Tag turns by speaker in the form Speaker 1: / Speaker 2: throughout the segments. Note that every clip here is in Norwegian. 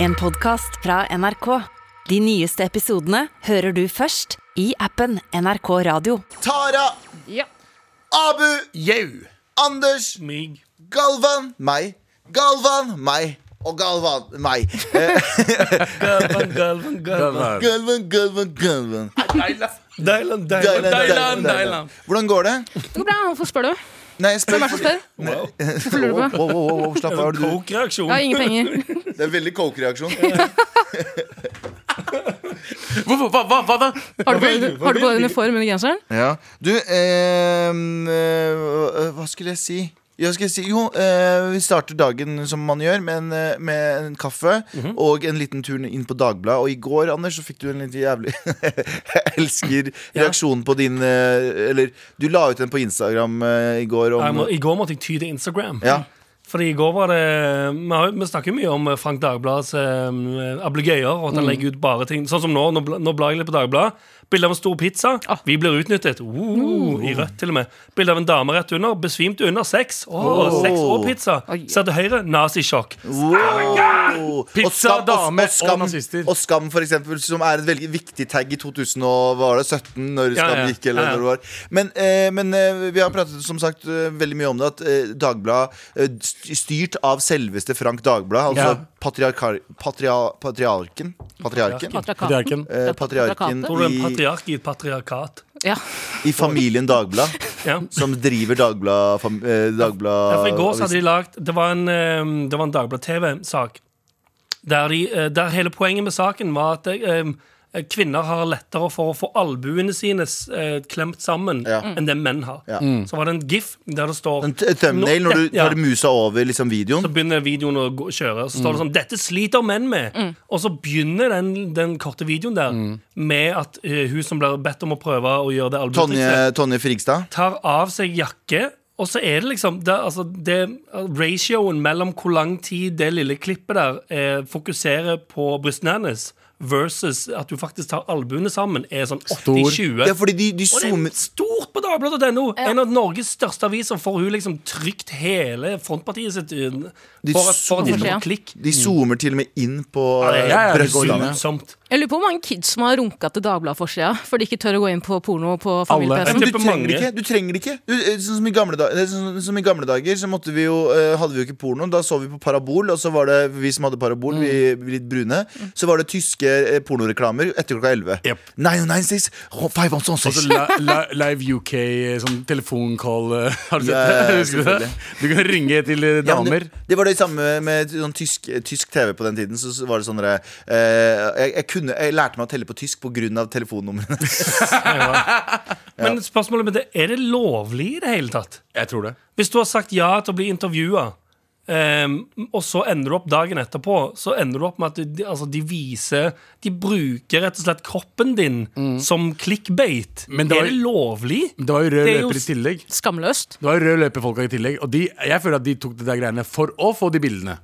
Speaker 1: En podcast fra NRK. De nyeste episodene hører du først i appen NRK Radio.
Speaker 2: Tara,
Speaker 3: Ja.
Speaker 2: Abu,
Speaker 4: Jau.
Speaker 2: Anders,
Speaker 4: Mig.
Speaker 2: Galvan, meg. Galvan, meg. Og Galvan, meg. Eh,
Speaker 4: Galvan, Galvan, Galvan.
Speaker 2: Galvan, Galvan, Galvan.
Speaker 4: Deiland,
Speaker 2: Deiland,
Speaker 4: Deiland,
Speaker 2: Deiland,
Speaker 4: Deiland.
Speaker 2: Deiland. Hvordan går det?
Speaker 3: Det går bra. Hvorfor spør du?
Speaker 2: Nei, jeg spør
Speaker 3: Hvem er det som spør?
Speaker 4: Wow.
Speaker 3: Hvorfor lurer du
Speaker 2: Wow,
Speaker 3: på?
Speaker 2: wow, wow, wow, slapp av. du-
Speaker 4: Coke-reaksjon.
Speaker 3: Jeg har ingen penger.
Speaker 2: Det er veldig coke-reaksjon.
Speaker 4: Hvorfor? Hva, hva, hva da?
Speaker 3: Har du bare, har du bare uniform under genseren?
Speaker 2: Ja. Du, eh, eh, hva skulle jeg si? Jeg skulle si jo, eh, vi starter dagen som man gjør, med en, eh, med en kaffe
Speaker 5: Mhm.
Speaker 2: og en liten tur inn på Dagbladet. Og i går, Anders, så fikk du en litt jævlig Jeg elsker reaksjonen på din eh, Eller, du la ut en på Instagram eh, i går om
Speaker 5: Jeg må, I går måtte jeg ty til Instagram.
Speaker 2: Ja.
Speaker 5: Fordi i går var det Vi, har, vi snakker jo mye om Frank Dagblads eh, ablegøyer, og
Speaker 2: Mm.
Speaker 5: at han legger ut bare ting. Sånn som nå. Nå, bla- nå blar jeg litt på Dagbladet. Bilde av en stor pizza.
Speaker 3: Ah.
Speaker 5: Vi blir utnyttet. Uh, I rødt, til og med. Bilde av en dame rett under. Besvimt under sex. Åh,
Speaker 2: Oh.
Speaker 5: Sex og pizza.
Speaker 3: Oi.
Speaker 5: Se til høyre. Nazisjokk.
Speaker 2: Wow. Og
Speaker 4: Pizza,
Speaker 2: skam,
Speaker 4: dame
Speaker 2: og, skam,
Speaker 4: og nazister.
Speaker 2: og Skam, for eksempel, som er et veldig viktig tag i 2017, når
Speaker 5: Ja,
Speaker 2: Skam
Speaker 5: ja,
Speaker 2: gikk. Eller
Speaker 5: ja, ja.
Speaker 2: når det var. Men, eh, men eh, vi har pratet som sagt eh, veldig mye om det, at eh, Dagbladet, eh, st- styrt av selveste Frank Dagblad, altså
Speaker 4: Ja.
Speaker 2: patriarkar, patria, patriarken Patriarken?
Speaker 3: Patriarkat.
Speaker 2: Eh, patriarken
Speaker 5: Tror du er en
Speaker 2: i,
Speaker 5: patriark i et patriarkat?
Speaker 3: Ja.
Speaker 2: i familien Dagblad,
Speaker 5: Ja.
Speaker 2: som driver Dagblad... fam- eh,
Speaker 5: Ja, for I går
Speaker 2: Dagblad
Speaker 5: så hadde de lagt Det var en, eh, det var en Dagblad TV-sak der, de, eh, der hele poenget med saken var at eh, kvinner har lettere for å få albuene sine eh, klemt sammen
Speaker 2: Ja.
Speaker 5: enn det menn har.
Speaker 2: Ja.
Speaker 5: Så var det en gif der det står
Speaker 2: En t- thumbnail når du
Speaker 5: Ja.
Speaker 2: tar musa over liksom, videoen.
Speaker 5: så begynner videoen å gå, kjøre, og så står det sånn 'Dette sliter menn med'. Og så begynner den, den korte videoen der med at eh, hun som blir bedt om å prøve å gjøre det
Speaker 2: Tonje,
Speaker 5: albuetrikset,
Speaker 2: Tonje Frigstad.
Speaker 5: tar av seg jakke, og så er det liksom det, altså, det, Ratioen mellom hvor lang tid det lille klippet der eh, fokuserer på brystene hennes, versus at du faktisk tar albuene sammen, er sånn 80-20.
Speaker 2: Ja, fordi de, de
Speaker 5: Og det er
Speaker 2: zoomer
Speaker 5: stort på Dagbladet.no! En av Norges største aviser får hun liksom trykt hele frontpartiet sitt inn.
Speaker 2: De
Speaker 5: For at, for at det skal
Speaker 3: zoomer.
Speaker 5: få klikk.
Speaker 2: de zoomer til og med inn på
Speaker 5: Ja, det er
Speaker 2: eh,
Speaker 4: det går
Speaker 2: brystene.
Speaker 4: inn, ja.
Speaker 5: grusomt.
Speaker 3: Jeg lurer på hvor mange kids som har runka til Dagbladet-forsida for de ikke tør å gå inn på porno
Speaker 2: Ja,
Speaker 3: på familie-PC-en.
Speaker 2: men
Speaker 5: Jeg
Speaker 2: du trenger
Speaker 5: tipper
Speaker 2: det
Speaker 5: mange.
Speaker 2: ikke. Du trenger det ikke. Du, eh, sånn, som i gamle dager, sånn som i gamle dager så måtte vi jo, eh, hadde vi jo ikke porno. Da så vi på Parabol, og så var det vi som hadde Parabol, vi,
Speaker 5: Mm.
Speaker 2: vi litt brune. Så var det tyske eh, pornoreklamer etter klokka 11.
Speaker 4: Jep.
Speaker 2: 996, oh, 516.
Speaker 4: Altså li- li- Live UK, eh, sånn telefoncall eh, Har du sett
Speaker 2: Ja, ja,
Speaker 4: det?
Speaker 2: ja,
Speaker 4: Husker du det? Du kan ringe til eh,
Speaker 2: Ja, men
Speaker 4: damer.
Speaker 2: det, det var det samme med sånn tysk, tysk TV på den tiden. Så så var det sånn derre, eh, jeg, jeg, kunne- jeg lærte meg å telle på tysk pga. telefonnumrene.
Speaker 5: Men spørsmålet med det, er det lovlig i det hele tatt?
Speaker 4: Jeg tror det.
Speaker 5: Hvis du har sagt ja til å bli intervjua, ehm, og så ender du opp dagen etterpå, så ender du opp med at de- de, altså, de viser De bruker rett og slett kroppen din som clickbait.
Speaker 4: Mm. Men det var-
Speaker 5: er det lovlig?
Speaker 4: Men Det var jo rød
Speaker 5: Det er jo
Speaker 4: løper i
Speaker 5: s-
Speaker 4: tillegg.
Speaker 3: Skamløst.
Speaker 4: Det var jo rød løper-folka i tillegg. Og de, jeg føler at de tok det der greiene for å få de bildene.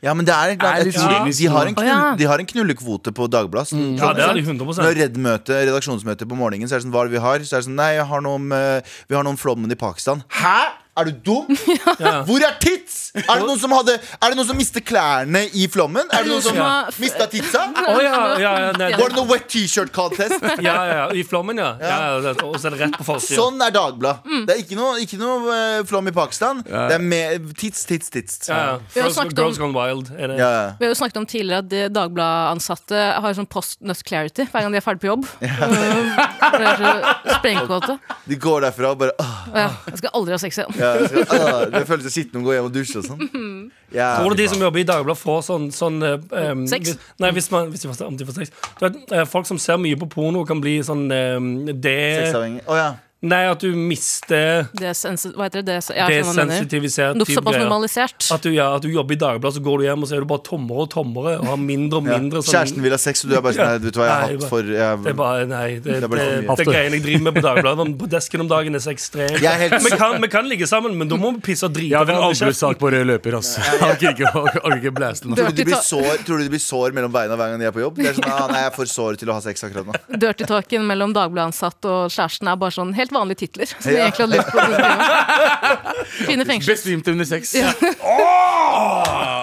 Speaker 2: Ja, men det er,
Speaker 4: Er
Speaker 2: jeg
Speaker 4: litt
Speaker 2: tror de,
Speaker 4: kynisk
Speaker 2: de, har en
Speaker 3: nå.
Speaker 2: knull,
Speaker 3: Å, ja.
Speaker 2: de har en knullekvote på Dagbladet. sånn-
Speaker 5: Mm. Ja,
Speaker 2: sånn-
Speaker 5: det er de
Speaker 2: Når
Speaker 5: 100
Speaker 2: Redd møter redaksjonsmøte på morgenen, så er det sånn Hva er det vi har? Så er det sånn Nei, jeg har noe om, eh, vi har noe om flommen i Pakistan. Hæ? Er du dum? Hvor er tits? Er det noen som hadde Er det noen som mister klærne i flommen? Er det noen som
Speaker 3: Ja.
Speaker 2: mista titsa?
Speaker 5: Å ja, ja, ja, nei,
Speaker 2: Var det noe wet t-shirt contest?
Speaker 5: ja, ja, ja. I flommen, ja. ja. ja, det- og så er det rett på forsida.
Speaker 2: Sånn er Dagbladet.
Speaker 3: Mm.
Speaker 2: Det er ikke noe, ikke noe eh, flom i Pakistan. Det er mer tits, tits, tits.
Speaker 5: Ja, ja.
Speaker 3: Vi har
Speaker 5: Girls,
Speaker 3: snakket om-
Speaker 5: Girls Gone Wild. Er det.
Speaker 2: Ja, ja.
Speaker 3: Vi har jo snakket om tidligere at de Dagbladet-ansatte har sånn post nut clarity hver gang de er ferdig på jobb. Eh, det er så Sprengkåte.
Speaker 2: De går derfra og bare «Åh,
Speaker 3: Og ja, Jeg skal aldri ha sex igjen.
Speaker 2: ja, jeg skal, åh, Det føles som å sitte og gå hjem og dusje og sånn. Ja.
Speaker 5: Tror du de som jobber i Dagbladet får sånn, sånn eh, em,
Speaker 3: Sex?
Speaker 5: hvis- Nei, hvis, man, hvis de får, om de får sex. Du vet, eh, folk som ser mye på porno, kan bli sånn eh, det,
Speaker 2: Sexavhengig. Å ja.
Speaker 5: Nei, at du mister
Speaker 3: Det er sensi- hva heter det? Det, er- jeg skjønner hva du mener.
Speaker 5: desensitivisert
Speaker 3: Noe
Speaker 5: type
Speaker 3: Såpass
Speaker 5: greier.
Speaker 3: normalisert.
Speaker 5: At du, ja, at du jobber i Dagbladet, så går du hjem, og så er du bare tommere og tommere. Og har mindre og
Speaker 2: Ja.
Speaker 5: mindre sånn-
Speaker 2: Kjæresten vil ha sex, og du er bare sånn
Speaker 5: Ja.
Speaker 2: Nei, vet du hva, jeg har
Speaker 5: Nei,
Speaker 2: hatt
Speaker 5: bare-
Speaker 2: for eh,
Speaker 5: Det er
Speaker 2: jeg,
Speaker 5: bare, nei, det,
Speaker 2: Det er
Speaker 5: det,
Speaker 2: bare
Speaker 5: det,
Speaker 2: for mye.
Speaker 5: greiene jeg driver med på Dagbladet om- På desken om dagen er så ekstremt
Speaker 2: Jeg er helt-
Speaker 5: vi, kan, vi kan ligge sammen, men da må vi pisse og drite
Speaker 4: Jeg har en
Speaker 5: hverandre i kjeften.
Speaker 4: albuesak på rød løper, altså. Jeg orker ikke, jeg orker ikke blæste nå.
Speaker 2: Tror du de blir sår, tror du de blir sår mellom beina hver gang de er på jobb? Det er sånn, ah, nei, jeg er for sår til å ha sex akkurat nå.
Speaker 3: Dirty talken mellom Dagbladet-ansatt og kjæresten er bare sånn helt vanlige titler. Som de
Speaker 2: Ja.
Speaker 3: egentlig hadde lyst på å skrive om. Fine fengsel.
Speaker 4: Besvimte under sex.
Speaker 2: Det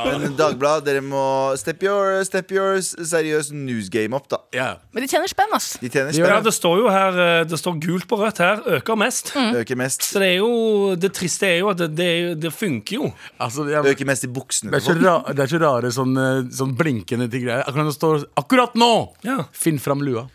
Speaker 2: Men Dagbladet, dere må step your, step your s- seriøs news game opp, da.
Speaker 4: Ja.
Speaker 3: Men de tjener spenn, ass.
Speaker 2: De tjener
Speaker 5: Ja,
Speaker 2: spenn,
Speaker 5: det står jo her eh, Det står gult på rødt her. Øker mest.
Speaker 3: Mm.
Speaker 2: øker mest.
Speaker 5: Så det er jo Det triste er jo at det, det, er jo- det funker jo.
Speaker 4: Altså, jeg,
Speaker 2: Øker mest i buksene.
Speaker 4: det, er så
Speaker 2: til folk.
Speaker 4: ra, det er så rare sånn, eh, sånn blinkende til greier. Akkurat, nå står, akkurat nå!
Speaker 5: Ja.
Speaker 4: Finn fram lua.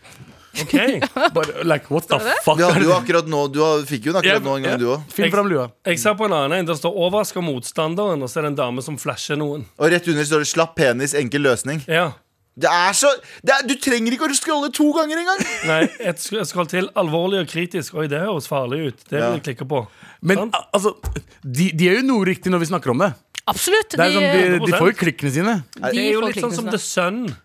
Speaker 5: OK. Jeg
Speaker 4: Bare, like, what the fuck?
Speaker 2: Du
Speaker 4: er
Speaker 2: hadde
Speaker 4: det?
Speaker 2: jo akkurat nå Du hadde- fikk jo den akkurat
Speaker 5: Ja,
Speaker 2: nå en gang,
Speaker 5: ja.
Speaker 2: du òg.
Speaker 4: Finn fram lua.
Speaker 5: ser på en annen en. Det står 'overrasker motstanderen', og så er det en dame som flasher noen.
Speaker 2: Og rett under står det 'slapp penis, enkel løsning'.
Speaker 5: Ja.
Speaker 2: Det er så det er, Du trenger ikke å scrolle to ganger engang!
Speaker 5: Nei, et sk- skroll til. Alvorlig og kritisk. Oi, det høres farlig ut. Det vil jeg klikke på.
Speaker 4: Men
Speaker 5: Sant?
Speaker 4: al- altså, de, de er jo noe riktig når vi snakker om det.
Speaker 3: Absolutt.
Speaker 4: Det er sånn, de, de
Speaker 5: 100%.
Speaker 4: får jo klikkene sine.
Speaker 3: de
Speaker 5: det er jo
Speaker 3: får
Speaker 5: litt sånn som
Speaker 3: klikkene
Speaker 5: The Sun.
Speaker 3: sine.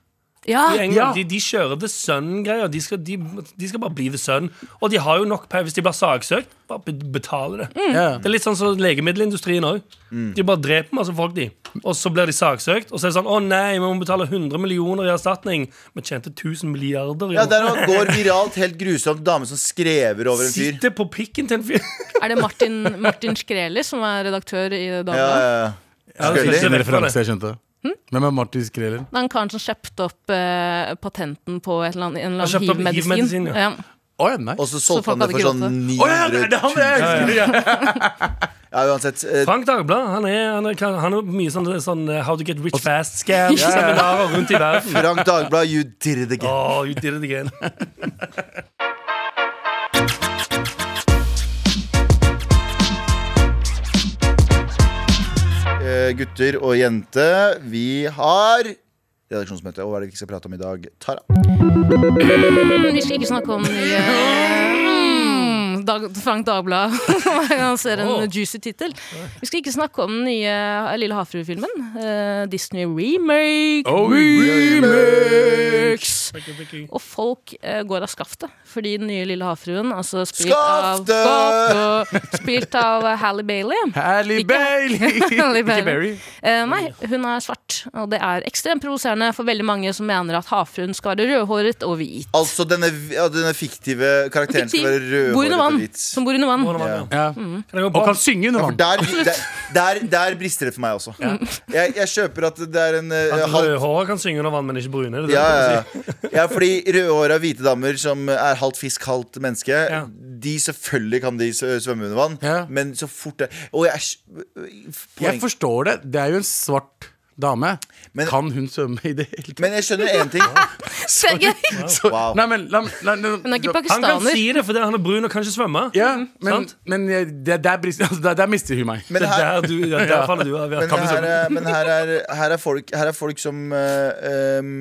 Speaker 3: Ja,
Speaker 5: I England,
Speaker 4: Ja.
Speaker 5: de, de kjører The Sun-greier. De, skal- de, de skal bare bli The Sun. Og de har jo nok penger. Hvis de blir saksøkt, bare be- betale det.
Speaker 4: Ja.
Speaker 5: Det er litt sånn som legemiddelindustrien òg.
Speaker 2: Mm.
Speaker 5: De bare dreper masse folk, de. Og så blir de saksøkt. Og så er det sånn 'Å nei, vi må betale 100 millioner i erstatning'. Vi tjente 1000 milliarder. i
Speaker 2: Ja,
Speaker 5: år.
Speaker 2: Der nå går viralt helt grusomt dame som skrever over en fyr.
Speaker 5: Sitter på pikken til en fyr.
Speaker 3: Er det Martin, Martin Skreli som er redaktør i
Speaker 2: Ja, ja,
Speaker 3: Dagbladet?
Speaker 2: ja.
Speaker 5: Ja, det
Speaker 2: Skøyter.
Speaker 5: synes jeg Hm?
Speaker 4: En
Speaker 5: er rett
Speaker 4: referanse
Speaker 5: for det.
Speaker 4: jeg skjønte. Hvem er Marty Skreler?
Speaker 3: Det er han karen som kjøpte opp eh, patenten på et eller annet, en eller
Speaker 5: Han kjøpte opp
Speaker 3: annen hivmedisin.
Speaker 5: hivmedisin, ja.
Speaker 3: Ja.
Speaker 4: Å ja, nei.
Speaker 2: Og så solgte
Speaker 3: Så
Speaker 2: han det
Speaker 3: folk
Speaker 2: for sånn
Speaker 3: hadde
Speaker 2: 900
Speaker 4: Å ja, det er det er han det er! jeg husker det, ja.
Speaker 2: Ja, uansett. eh,
Speaker 5: Frank Dagblad han er, han er, han er mye sånn, sånn eh, How to get rich fast scam-seminarer rundt i verden.
Speaker 2: Frank Dagblad, you did it again.
Speaker 5: Oh, you did it again.
Speaker 2: Eh, gutter og jente, vi har redaksjonsmøte. Og hva er det vi skal prate om i dag, Tara?
Speaker 3: Mm, Vi skal ikke snakke om nye Mm, Dag, Frank Dagblad. Han ser en
Speaker 5: Åh.
Speaker 3: juicy tittel. Vi skal ikke snakke om den nye eh, Lille havfrue-filmen. eh, Disney remake.
Speaker 4: Oh, remakes.
Speaker 3: Og folk eh, går av skaftet fordi den nye Lille havfruen, altså spilt
Speaker 2: Skaftet!
Speaker 3: av Skaftet! Spilt av Hally Bailey.
Speaker 4: Halle
Speaker 3: Ikke-
Speaker 4: Bailey!
Speaker 3: Halle
Speaker 4: Ikke
Speaker 3: Bailey.
Speaker 4: Berry.
Speaker 3: Eh, nei, hun er svart, og det er ekstremt provoserende for veldig mange som mener at havfruen skal være rødhåret og hvit.
Speaker 2: Altså, denne, ja, denne fiktive karakteren skal være
Speaker 3: bor
Speaker 2: rødhåret
Speaker 3: under
Speaker 2: og
Speaker 3: vann.
Speaker 2: hvit.
Speaker 3: Som bor under vann.
Speaker 5: Kan
Speaker 4: Ja.
Speaker 5: jeg gå
Speaker 4: Og
Speaker 5: bak?
Speaker 4: kan synge
Speaker 2: Ja,
Speaker 4: under
Speaker 2: for
Speaker 4: vann.
Speaker 2: der, der, der, der brister det for meg også. Jeg, jeg kjøper at det er en eh,
Speaker 5: At
Speaker 2: halv...
Speaker 5: Rødhåra kan synge under vann, men ikke brune. Det er det
Speaker 2: Ja,
Speaker 5: du
Speaker 2: ja,
Speaker 5: sier.
Speaker 2: ja. ja, fordi rødhåra hvite damer som er halvt fisk, halvt menneske,
Speaker 5: Ja.
Speaker 2: de selvfølgelig kan de s- svømme under vann,
Speaker 4: Ja.
Speaker 2: men så fort det Og jeg
Speaker 4: Jeg
Speaker 2: poeng.
Speaker 4: forstår det. Det er jo en svart dame.
Speaker 2: Men-
Speaker 4: Kan hun svømme i det hele tatt?
Speaker 2: Men jeg skjønner én ting.
Speaker 3: Så gøy.
Speaker 4: Så-
Speaker 2: Wow.
Speaker 4: Nei, men la- la- la-
Speaker 3: Hun er ikke Mm.
Speaker 5: Han kan
Speaker 3: pakistaner.
Speaker 5: si det fordi han er brun og kan ikke svømme.
Speaker 4: Ja, men,
Speaker 5: Sant?
Speaker 4: men jeg, det, der, brister- altså, der, der mister hun meg.
Speaker 2: Men
Speaker 5: Det er
Speaker 2: her,
Speaker 5: der, du, ja, der faller du av.
Speaker 2: men
Speaker 5: Ja.
Speaker 2: her, er, men her, er, her, er folk, her er folk som eh, em,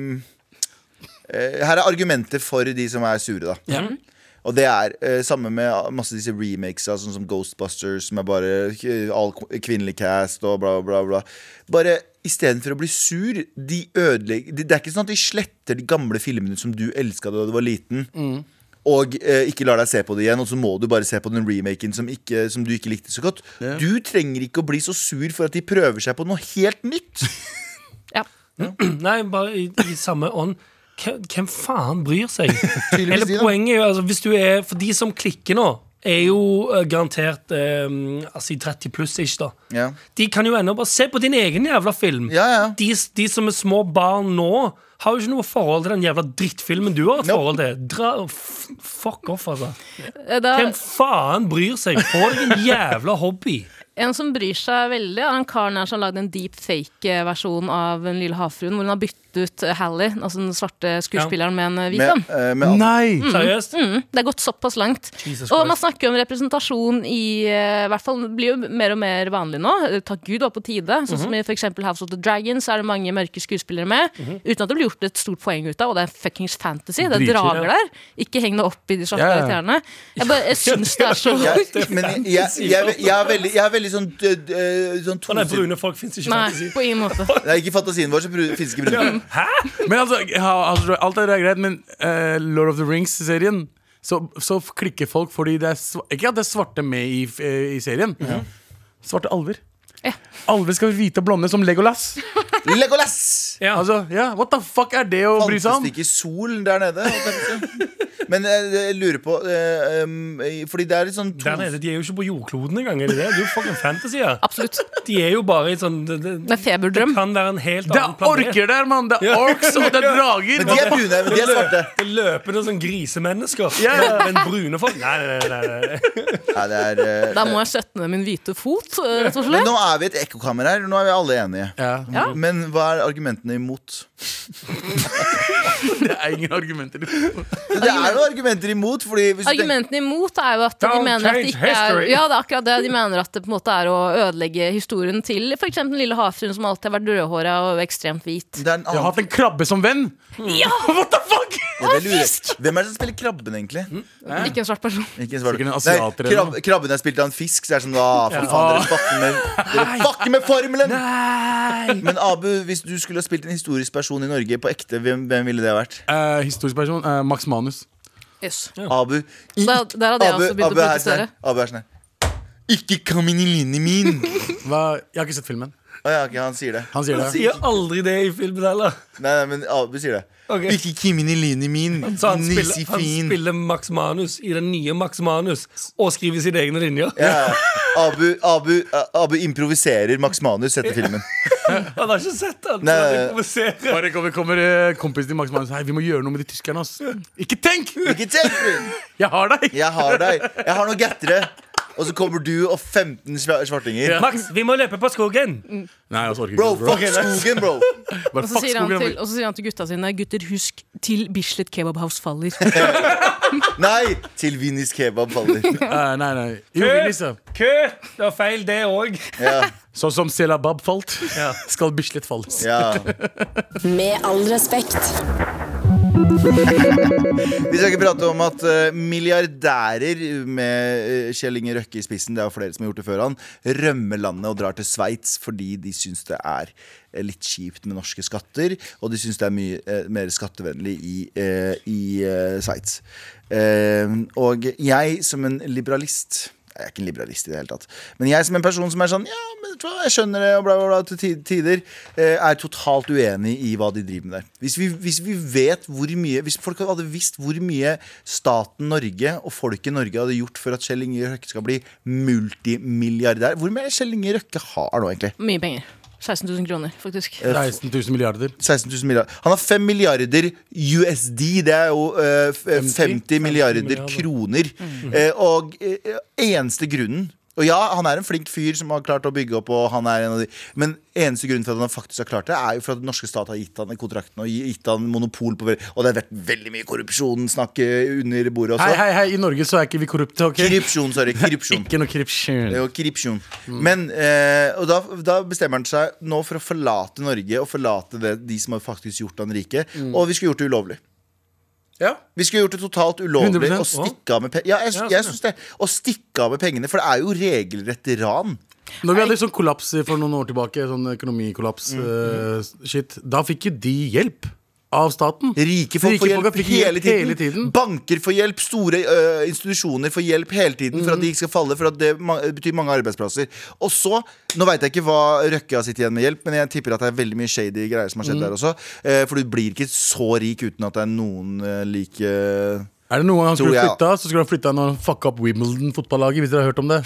Speaker 2: eh, Her er argumenter for de som er sure, da.
Speaker 4: Ja.
Speaker 2: Og det er eh, samme med masse disse remakes av sånn som Ghostbusters, som er bare eh, all k- kvinnelig cast og bla, bla, bla. Bare istedenfor å bli sur, de ødelegger de, Det er ikke sånn at de sletter de gamle filmene som du elska da du var liten. Og eh, ikke lar deg se på det igjen, og så må du bare se på den remaken som, ikke, som du ikke likte så godt. Du trenger ikke å bli så sur for at de prøver seg på noe helt nytt.
Speaker 3: Ja.
Speaker 5: Nei, bare i, i samme ånd. Hvem hvem faen bryr seg?
Speaker 2: Tydeligvis
Speaker 5: Hele
Speaker 2: de, da.
Speaker 5: poenget er jo altså, hvis du er, For de som klikker nå, er jo eh, garantert eh, altså, i 30 pluss, ikke da.
Speaker 2: Ja,
Speaker 5: De kan jo ennå bare se på din egen jævla film.
Speaker 2: ja. ja.
Speaker 5: De, de som er små barn nå, har jo ikke noe forhold til den jævla drittfilmen du har et
Speaker 2: Nope.
Speaker 5: forhold til. Dra, f fuck off, altså.
Speaker 3: Eh, Da,
Speaker 5: Hvem faen bryr seg? Få deg en jævla hobby.
Speaker 3: en som bryr seg veldig, er han karen her som lagde en deepfake-versjon av Den lille havfruen, hvor hun har byttet ut eh, Hally, altså den svarte skuespilleren, med en eh, hvit
Speaker 2: Med,
Speaker 3: en.
Speaker 2: eh, med andre-
Speaker 4: Nei!
Speaker 5: Seriøst?
Speaker 3: Mm, det er gått såpass langt.
Speaker 5: Jesus
Speaker 3: Og man
Speaker 5: Christ.
Speaker 3: snakker jo om representasjon i eh, hvert fall blir jo mer og mer vanlig nå. Eh, Takk Gud, det var på tide. Sånn
Speaker 5: Mhm.
Speaker 3: som i for eksempel House of the Dragons er det mange mørke skuespillere med.
Speaker 5: Mhm.
Speaker 3: Uten at det blir gjort et stort poeng ut av, og det er fuckings fantasy. Det er
Speaker 4: Dritkjipt,
Speaker 3: drager der. Ikke heng det opp i de svarte
Speaker 4: Ja, ja.
Speaker 3: karakterene. Jeg, bare, jeg syns det er så
Speaker 2: jeg, men jeg, jeg, jeg, jeg, er veldig, jeg er veldig sånn, død- eh, sånn
Speaker 5: Å nei,
Speaker 2: tosidig
Speaker 5: brune folk fins ikke.
Speaker 3: Nei,
Speaker 5: fantasi.
Speaker 3: på ingen måte.
Speaker 2: Nei, ikke i fantasien vår, så bru- finnes ikke brune.
Speaker 4: Men altså, ha- altså alt det der er greit, men eh, Lord of the Rings-serien så, så klikker folk fordi det er sva- Ikke at det er svarte med i, f- eh, i serien. Svarte alver.
Speaker 3: Ja.
Speaker 4: Alver skal være hvite og blonde som Legolas.
Speaker 2: Legolas!
Speaker 5: Ja.
Speaker 4: Altså, ja, What the fuck er det å bry
Speaker 2: Fantes
Speaker 4: seg om?
Speaker 2: det ikke sol der nede? holdt jeg på å si? Men eh, jeg lurer på eh, um, eh, Fordi det er litt sånn to
Speaker 5: Der nede, De er jo ikke på jordkloden engang. Er de det? Det er jo fucking fantasy. Ja.
Speaker 3: Absolutt.
Speaker 5: De er jo bare i sånn det, det,
Speaker 3: Med feberdrøm.
Speaker 5: kan være en helt
Speaker 4: Det
Speaker 5: annen
Speaker 4: er orker der, mann! Det er orks og det er drager!
Speaker 2: Men de er brune, men de er svarte.
Speaker 5: Det er løpende sånn grisemennesker.
Speaker 4: Ja, ja.
Speaker 5: Men brune folk Nei, nei, nei. nei, nei.
Speaker 2: Ja, det er, eh,
Speaker 3: Da må jeg sette ned min hvite fot, eh, rett og
Speaker 2: men
Speaker 3: slett.
Speaker 2: nå er vi et ekkokammer her. Nå er vi alle enige.
Speaker 4: Ja.
Speaker 3: Ja.
Speaker 2: Men hva er argumentene imot?
Speaker 4: Det er ingen argumenter.
Speaker 2: Det er jo argumenter imot, fordi hvis du tenker
Speaker 3: Argumentene imot er jo at de
Speaker 5: Don't
Speaker 3: mener at det
Speaker 5: change
Speaker 3: ikke er
Speaker 5: history.
Speaker 3: Ja, det er akkurat det. De mener at det på en måte er å ødelegge historien til f.eks. den lille havfruen som alltid har vært rødhåra og ekstremt hvit.
Speaker 2: det er en
Speaker 4: Jeg har
Speaker 2: annen
Speaker 4: hatt en krabbe som venn!
Speaker 3: Ja!
Speaker 4: What the fuck?
Speaker 2: Ja, det lurer. jeg. Hvem er det som spiller krabben, egentlig?
Speaker 3: Ikke en svart person.
Speaker 2: Ikke en svart.
Speaker 4: Sikkert en
Speaker 2: Nei,
Speaker 4: asiater eller
Speaker 2: krab
Speaker 4: noe.
Speaker 2: krabben er spilt av en fisk, så det er sånn ah, for faen, dere fucker med, dere fucker med formelen!
Speaker 4: Nei.
Speaker 2: Men Abu, hvis du skulle ha spilt en historisk person i Norge på ekte, hvem, hvem ville det ha vært?
Speaker 4: Eh, historisk person. eh, Max Manus.
Speaker 3: Yes.
Speaker 2: Abu i-
Speaker 3: Da- der hadde jeg også begynt å
Speaker 2: Abu er sånn
Speaker 3: protestere.
Speaker 2: her. Abu er sånn her. Ikke kom inn i linjen min!
Speaker 4: Hva? Jeg har ikke sett filmen.
Speaker 2: Å ja, ok, han sier det.
Speaker 4: Han sier det.
Speaker 5: Sier aldri det i filmen heller.
Speaker 2: Nei, nei, men Abu sier det.
Speaker 5: Ok.
Speaker 2: Ikke kom inn i linjen min,
Speaker 5: Så han spiller, han
Speaker 2: nissefin.
Speaker 5: spiller Max Manus i den nye Max Manus og skriver sine egne linjer.
Speaker 2: Ja, Abu, Abu, eh, Abu improviserer Max Manus etter filmen.
Speaker 5: Han har ikke sett den!
Speaker 2: Nei.
Speaker 5: Han improviserer.
Speaker 4: Bare kommer, kommer eh, kompisen til Max Manus Hei, vi må gjøre noe med de tyskerne. ass Ikke tenk!
Speaker 2: Ikke tenk!
Speaker 4: Jeg har deg!
Speaker 2: Jeg har deg. Jeg har noen gattere. Og så kommer du og 15 sva- svartinger.
Speaker 5: Max, vi må løpe på skogen!
Speaker 4: Nei, jeg orker
Speaker 2: Bro,
Speaker 4: ikke.
Speaker 2: fuck skogen, bro.
Speaker 4: Bare
Speaker 3: Og så
Speaker 4: fuck
Speaker 3: sier han
Speaker 4: skogen.
Speaker 3: til, og så sier han til gutta sine Gutter, husk til Bislett Kebab House faller.
Speaker 2: Nei! Til Vinnies kebab faller.
Speaker 4: Eh, nei, nei. Jo, Elise.
Speaker 5: Kø! Det var feil, det òg.
Speaker 2: Ja,
Speaker 4: Sånn som Selabab falt,
Speaker 5: Ja.
Speaker 4: skal Bislett falles.
Speaker 2: ja.
Speaker 6: Med all respekt.
Speaker 2: Vi skal ikke prate om at eh, milliardærer med eh, Kjell Inge Røkke i spissen, det er jo flere som har gjort det før han, rømmer landet og drar til Sveits fordi de syns det er eh, litt kjipt med norske skatter, og de syns det er mye eh, mer skattevennlig i, eh, i eh, Sveits. Eh, og jeg som en liberalist jeg er ikke en liberalist i det hele tatt. Men jeg som en person som er sånn Ja, men vet du hva, jeg skjønner det, og bla, bla, bla, til ti- tider, eh, er totalt uenig i hva de driver med der. Hvis vi, hvis vi vet hvor mye Hvis folk hadde visst hvor mye staten Norge og folk i Norge hadde gjort for at Kjell Inge Røkke skal bli multimilliardær Hvor mye er det Kjell Inge Røkke har nå, egentlig?
Speaker 3: Mye penger. 16 000 kroner, faktisk.
Speaker 4: 16 000 milliarder.
Speaker 2: 16 000 milliarder. Han har 5 milliarder USD. Det er jo eh, f- 50,
Speaker 5: 50
Speaker 2: milliarder,
Speaker 5: milliarder.
Speaker 2: kroner.
Speaker 4: Mm.
Speaker 2: Eh, og eh, eneste grunnen og ja, han er en flink fyr som har klart å bygge opp. Og han er en av de Men eneste grunnen for at han faktisk har klart det, er jo for at den norske stat har gitt han den kontrakten og gi- gitt han monopol på Og det har vært veldig mye korrupsjonssnakk eh, under bordet
Speaker 4: Hei,
Speaker 2: også.
Speaker 4: hei, hei, i Norge så er ikke vi korrupte, ok?
Speaker 2: Korrupsjon, sorry. Korrupsjon.
Speaker 4: Ikke noe korrupsjon.
Speaker 2: Det er jo korrupsjon. Men eh, Og da, da bestemmer han seg nå for å forlate Norge og forlate det, de som har faktisk gjort han rike.
Speaker 5: Mm.
Speaker 2: Og vi skulle gjort det ulovlig.
Speaker 4: Ja.
Speaker 2: Vi skulle gjort det totalt ulovlig
Speaker 4: 100%.
Speaker 2: å stikke av med pengene. Ja, jeg,
Speaker 5: Ja, sånn,
Speaker 2: jeg synes det. Å stikke av med pengene, for det er jo regelrett ran.
Speaker 4: Når vi hadde sånn kollaps for noen år tilbake, sånn økonomikollaps,
Speaker 2: Mm.
Speaker 4: eh, shit, da fikk jo de hjelp av staten.
Speaker 2: Rike folk får hjelp
Speaker 4: fikk
Speaker 2: hele tiden.
Speaker 4: Hele tiden.
Speaker 2: Banker får hjelp, store ø, institusjoner får hjelp hele tiden for at de ikke skal falle, for at det ma betyr mange arbeidsplasser. Og så, nå veit jeg ikke hva Røkke har sittet igjen med hjelp, men jeg tipper at det er veldig mye shady greier som har skjedd der også. Eh, for du blir ikke så rik uten at det er noen eh, lik eh,
Speaker 4: Er det noe han
Speaker 2: Tror
Speaker 4: skulle
Speaker 2: jeg,
Speaker 4: flytta, så skulle han flytta når han fucka opp Wimbledon-fotballaget, hvis dere har hørt om det.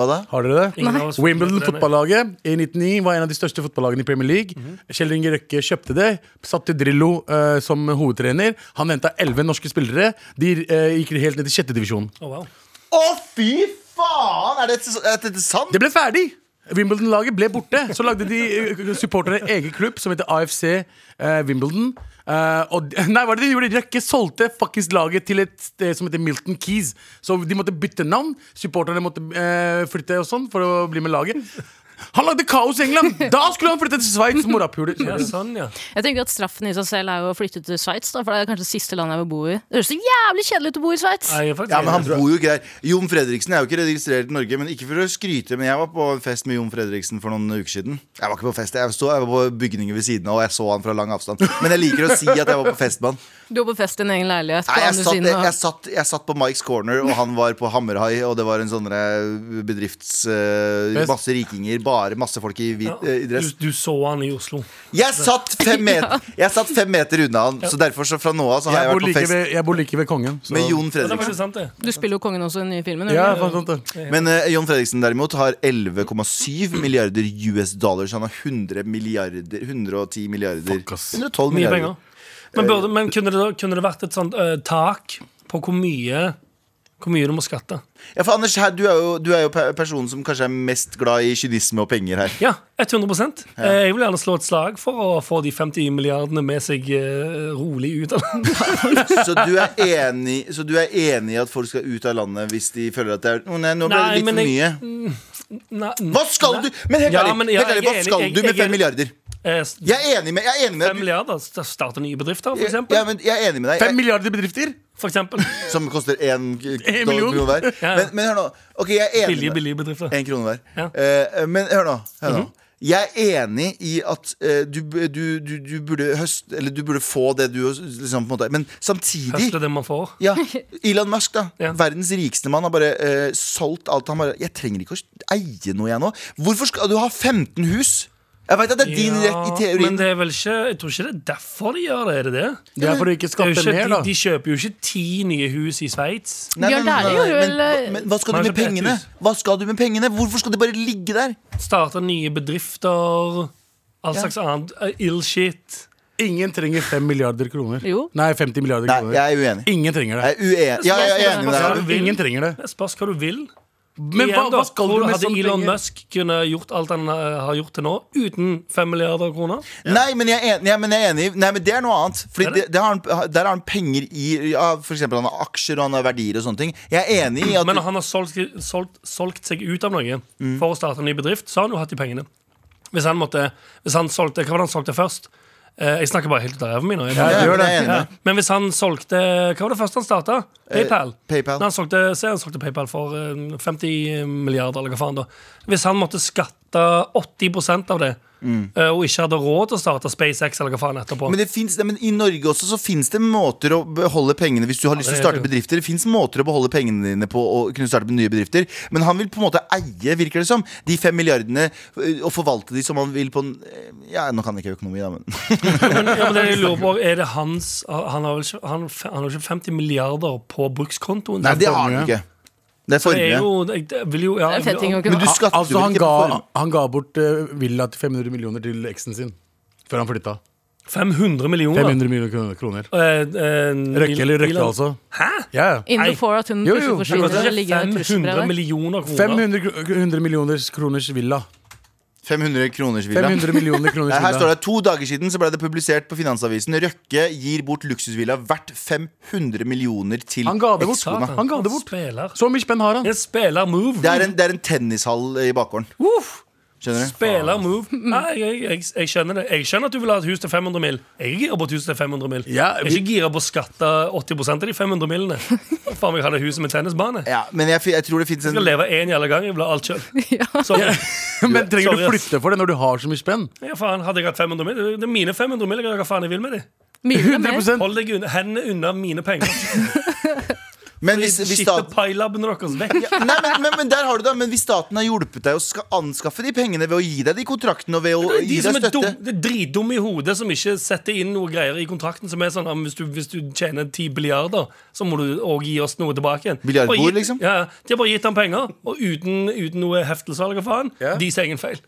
Speaker 2: Hva da?
Speaker 4: Har dere det?
Speaker 5: Ingen av oss-
Speaker 4: Wimbledon-fotballaget i 1909 var en av de største fotballagene i Premier League.
Speaker 5: Mhm.
Speaker 4: Kjell Inge Røkke kjøpte det, satte Drillo eh, som hovedtrener. Han henta elleve norske spillere. De eh, gikk helt ned til sjette divisjon.
Speaker 5: Å, wow.
Speaker 2: Å, fy faen! Er dette, er dette sant?
Speaker 4: Det ble ferdig! Wimbledon-laget ble borte. Så lagde de eh, supportere en egen klubb som heter AFC eh, Wimbledon. Eh, og, de- nei, hva er det de gjorde? Røkke solgte fuckings laget til et sted som heter Milton Keys. Så de måtte bytte navn. Supporterne måtte eh, flytte og sånn for å bli med laget. Han lagde kaos i England! Da skulle han flytte til Sveits! Morapuler.
Speaker 5: Ja, sånn, ja.
Speaker 3: Jeg tenker at Straffen i seg selv er jo å flytte til Sveits, da, for det er kanskje det siste landet jeg vil bo i. Det høres så jævlig kjedelig ut å bo i Sveits!
Speaker 5: Nei, jeg er faktisk
Speaker 2: Ja, men han
Speaker 5: enig.
Speaker 2: bor jo ikke der. Jon Fredriksen er jo ikke registrert i Norge. Men ikke for å skryte, men jeg var på en fest med Jon Fredriksen for noen uker siden. Jeg var ikke på fest, jeg, stod, jeg var på bygningen ved siden av, og jeg så han fra lang avstand. Men jeg liker å si at jeg var på fest med han.
Speaker 3: Du var på fest i din egen leilighet. På
Speaker 2: Nei, jeg
Speaker 3: andre
Speaker 2: satt,
Speaker 3: siden
Speaker 2: jeg,
Speaker 3: av-
Speaker 2: jeg, satt, jeg satt på Mikes Corner, og han var på Hammerhai, og det var en sånn eh, bedrifts... eh,
Speaker 4: Fest.
Speaker 2: masse rikinger, bare masse folk i hvit eh, i dress.
Speaker 5: Du, du så han i Oslo.
Speaker 2: Jeg satt fem meter, jeg satt fem meter unna han, så derfor så fra nå av så har
Speaker 4: Jeg
Speaker 2: jeg
Speaker 4: bor
Speaker 2: vært på
Speaker 4: like
Speaker 2: fest
Speaker 4: ved, jeg bor like ved kongen. Så.
Speaker 2: med Jon
Speaker 5: Ja, det er
Speaker 2: Fredriksen.
Speaker 5: faktisk sant, det.
Speaker 3: Du spiller jo kongen også i den nye filmen.
Speaker 4: Ja,
Speaker 3: eller?
Speaker 4: faen, sant det.
Speaker 2: Men eh, Jon Fredriksen derimot har 11,7 milliarder US dollar, så han har 100 milliarder 110 milliarder.
Speaker 4: Fuck, ass.
Speaker 2: 112
Speaker 5: Mye
Speaker 2: milliarder.
Speaker 5: penger.
Speaker 2: Eh,
Speaker 5: Men, burde, men kunne, det, kunne det vært et sånt eh, tak på hvor mye, hvor mye du må skatte?
Speaker 2: Ja, for Anders, her, du, er jo, du er jo pe- personen som kanskje er mest glad i kynisme og penger her.
Speaker 5: Ja, 100 Eh, Jeg vil gjerne slå et slag for å få de 50 milliardene med seg eh, rolig ut av landet.
Speaker 2: Så du er enig, så du er enig i at folk skal ut av landet hvis de føler at det er Å nei, nå ble
Speaker 5: Nei,
Speaker 2: det litt
Speaker 5: men
Speaker 2: for mye.
Speaker 5: jeg- Nei, nei.
Speaker 2: Hva skal du Men helt
Speaker 5: Ja,
Speaker 2: ærlig,
Speaker 5: men ja,
Speaker 2: helt ærlig
Speaker 5: jeg
Speaker 2: hva
Speaker 5: er
Speaker 2: skal
Speaker 5: enig,
Speaker 2: du
Speaker 5: jeg-
Speaker 2: med
Speaker 5: jeg er
Speaker 2: 5 milliarder?
Speaker 5: Eh,
Speaker 2: Jeg er enig med, jeg er enig med at
Speaker 5: 5
Speaker 2: du-
Speaker 5: milliarder? st- Starte nye bedrifter, for
Speaker 2: jeg, ja,
Speaker 5: eksempel?
Speaker 2: men jeg er enig med deg. Jeg,
Speaker 4: Fem milliarder bedrifter?
Speaker 5: For eksempel.
Speaker 2: som koster én
Speaker 4: En million.
Speaker 2: krone hver.
Speaker 5: Ja.
Speaker 2: Men, men hør nå. Ok, jeg er enig
Speaker 5: Billige,
Speaker 2: med
Speaker 5: billige bedrifter.
Speaker 2: En krone hver.
Speaker 5: Ja. Mhm.
Speaker 2: Eh, men hør nå. Hør nå. Jeg er enig i at eh, du, b- du, du, du burde høst Eller du burde få det du liksom, på en måte, Men samtidig
Speaker 5: Høste det man får.
Speaker 2: ja, Elon Musk, da.
Speaker 5: Ja.
Speaker 2: Verdens rikeste mann har bare eh, solgt alt. Han bare 'Jeg trenger ikke å eie noe, jeg nå'. Hvorfor skal du ha 15 hus? Jeg veit at det er din rett i
Speaker 5: Ja, men
Speaker 2: teorien.
Speaker 5: det er vel ikke Jeg tror ikke det er derfor de gjør det, er det det?
Speaker 4: Det er for å
Speaker 5: det
Speaker 4: ikke
Speaker 5: er jo
Speaker 4: skatte
Speaker 5: ikke,
Speaker 4: mer,
Speaker 5: de,
Speaker 4: da.
Speaker 5: de kjøper jo ikke ti nye hus i Sveits.
Speaker 2: Nei,
Speaker 3: Bjørn
Speaker 2: nei, nei,
Speaker 3: Dæhlie gjorde
Speaker 2: men,
Speaker 3: vel, eh,
Speaker 2: men hva skal du
Speaker 5: Man
Speaker 2: med
Speaker 5: kjøper ett
Speaker 2: pengene?
Speaker 5: hus.
Speaker 2: Hva skal du med pengene? Hvorfor skal de bare ligge der?
Speaker 5: Starter nye bedrifter. All slags annet eh, ill shit.
Speaker 4: Ingen trenger fem milliarder kroner.
Speaker 3: Jo.
Speaker 4: Nei, 50 milliarder
Speaker 2: Nei,
Speaker 4: kroner.
Speaker 2: jeg er uenig.
Speaker 4: Ingen trenger det.
Speaker 2: Jeg er uenig. Ja, jeg er enig med deg.
Speaker 5: jeg-
Speaker 4: Ingen trenger det.
Speaker 5: Det spørs hva du vil.
Speaker 4: Men hva,
Speaker 5: Igjen da,
Speaker 4: hva skal du
Speaker 5: tror
Speaker 4: med
Speaker 5: hadde
Speaker 4: sånne
Speaker 5: Elon
Speaker 4: penger?
Speaker 5: Musk kunne gjort alt han eh, har gjort til nå, uten 5 milliarder kroner?
Speaker 2: Nei, men jeg er enig, ja, men jeg er enig. i- Nei, men det er noe annet. Fordi
Speaker 5: Er
Speaker 2: det?
Speaker 5: det?
Speaker 2: det har han, der har han penger i ja, For eksempel han har aksjer og han har verdier og sånne ting. Jeg er enig i at
Speaker 5: Men når han har solgt, solgt, solgt seg ut av noe
Speaker 4: Mm.
Speaker 5: for å starte en ny bedrift, så har han jo hatt de pengene. Hvis han måtte hvis han solgte, Hva var det han solgte først? Eh, jeg snakker bare helt ut av ræva mi nå. jeg
Speaker 4: Ja,
Speaker 5: bare-
Speaker 2: Ja,
Speaker 4: gjør
Speaker 2: men jeg er
Speaker 4: det. Eh,
Speaker 2: enig.
Speaker 5: Ja. Men hvis han solgte Hva var det første han starta? PayPal.
Speaker 2: PayPal.
Speaker 5: Når han solgte, se, han solgte PayPal for eh, 50 milliarder, eller hva faen da. Hvis han måtte skatte 80 av det, eh, og ikke hadde råd til å starte SpaceX eller hva faen etterpå
Speaker 2: Mm. Men, det finnes, nei, men i Norge også så fins det måter å beholde pengene hvis du har lyst til å
Speaker 5: det
Speaker 2: starte
Speaker 5: gjør det
Speaker 2: bedrifter. Det fins måter å beholde pengene dine på å kunne starte med nye bedrifter. Men han vil på en måte eie, virker det som, de fem milliardene ø, og forvalte de som han vil på en øh, Ja, nå kan jeg ikke økonomi, da, men
Speaker 5: Ja, men det jeg lurer på, er det hans Han har vel ikke, han, han har jo ikke 50 milliarder på brukskontoen?
Speaker 2: Nei, det har han
Speaker 4: formue.
Speaker 2: ikke. Det er
Speaker 5: Det er
Speaker 2: formue.
Speaker 5: jo, jeg, det vil jo, ja,
Speaker 3: Det er en fet ting å kunne
Speaker 2: Men du
Speaker 3: ha.
Speaker 2: skatter
Speaker 4: Altså,
Speaker 2: vel
Speaker 4: han
Speaker 2: ikke
Speaker 4: ga,
Speaker 2: på formue?
Speaker 4: han ga bort eh, villa til 500 millioner til eksen sin før han flytta.
Speaker 5: 500 millioner.
Speaker 4: 500 millioner kroner- kroner.
Speaker 5: Eh, eh,
Speaker 4: Røkke eller
Speaker 5: Elon-
Speaker 4: Røkke, altså.
Speaker 5: Hæ?
Speaker 4: Ja, ja.
Speaker 3: Innen
Speaker 5: Nei.
Speaker 3: du får at hun
Speaker 4: Jo, jo,
Speaker 3: plutselig
Speaker 4: men
Speaker 5: Det
Speaker 3: forsvinner.
Speaker 5: koster
Speaker 3: eller ligger i en
Speaker 5: ikke 500
Speaker 3: trusselbrev.
Speaker 5: millioner kroner.
Speaker 4: 500 kro- 100 millioners kroners villa.
Speaker 2: 500 kroners villa.
Speaker 4: 500 millioner kroners
Speaker 2: Nei, Eh, Her står
Speaker 4: villa.
Speaker 2: det to dager siden så ble det publisert på Finansavisen Røkke gir bort luksusvilla verdt 500 millioner til
Speaker 4: Han ga det bort.
Speaker 5: Satan,
Speaker 2: ekskona.
Speaker 4: Han ga det bort.
Speaker 5: Spiller.
Speaker 4: Så mye spenn har han.
Speaker 5: En spiller move.
Speaker 2: Det er en, det er en tennishall i bakgården.
Speaker 5: Uff.
Speaker 2: Skjønner du?
Speaker 5: Spiller move.
Speaker 2: Mm.
Speaker 5: Nei, jeg, jeg, jeg skjønner det. Jeg skjønner at du vil ha et hus til 500 mil. Jeg er gira på et hus til 500 mil.
Speaker 4: Ja,
Speaker 5: Jeg er ikke gira på å skatte 80 av de 500 millene. Faen meg ha det huset med tennisbane. Jeg
Speaker 2: Ja, men jeg, fi- jeg tror det fins en
Speaker 5: skal leve én jævla gang. Jeg vil ha alt sjøl. Sorry.
Speaker 4: Men trenger du
Speaker 5: Sorry, ass.
Speaker 4: flytte for det når du har så mye spenn?
Speaker 5: Ja, faen, hadde jeg hatt 500 mil? Det er mine 500 mil. Jeg gjør hva faen jeg vil med de.
Speaker 3: Mye mer.
Speaker 4: 100
Speaker 5: Hold deg unna, hendene unna mine penger.
Speaker 2: Men hvis, hvis
Speaker 5: Skifte
Speaker 2: staten
Speaker 5: pailabene deres vekk.
Speaker 2: ja, nei, men, men, men der har du det. Men hvis staten har hjulpet deg å ska anskaffe de pengene ved å gi deg de kontraktene og ved å
Speaker 5: De
Speaker 2: gi
Speaker 5: som
Speaker 2: deg
Speaker 5: er dum,
Speaker 2: støtte
Speaker 5: det er dritdumme i hodet, som ikke setter inn noe greier i kontrakten. Som er sånn, ah, men hvis, du, hvis du tjener 10 milliarder, så må du òg gi oss noe tilbake. igjen
Speaker 2: Biljardbord,
Speaker 5: Bare gi-
Speaker 2: liksom?
Speaker 5: Ja, ja. De har bare gitt ham penger, og uten, uten noe heftelse eller hva faen.
Speaker 4: Ja.
Speaker 5: De sier egen feil.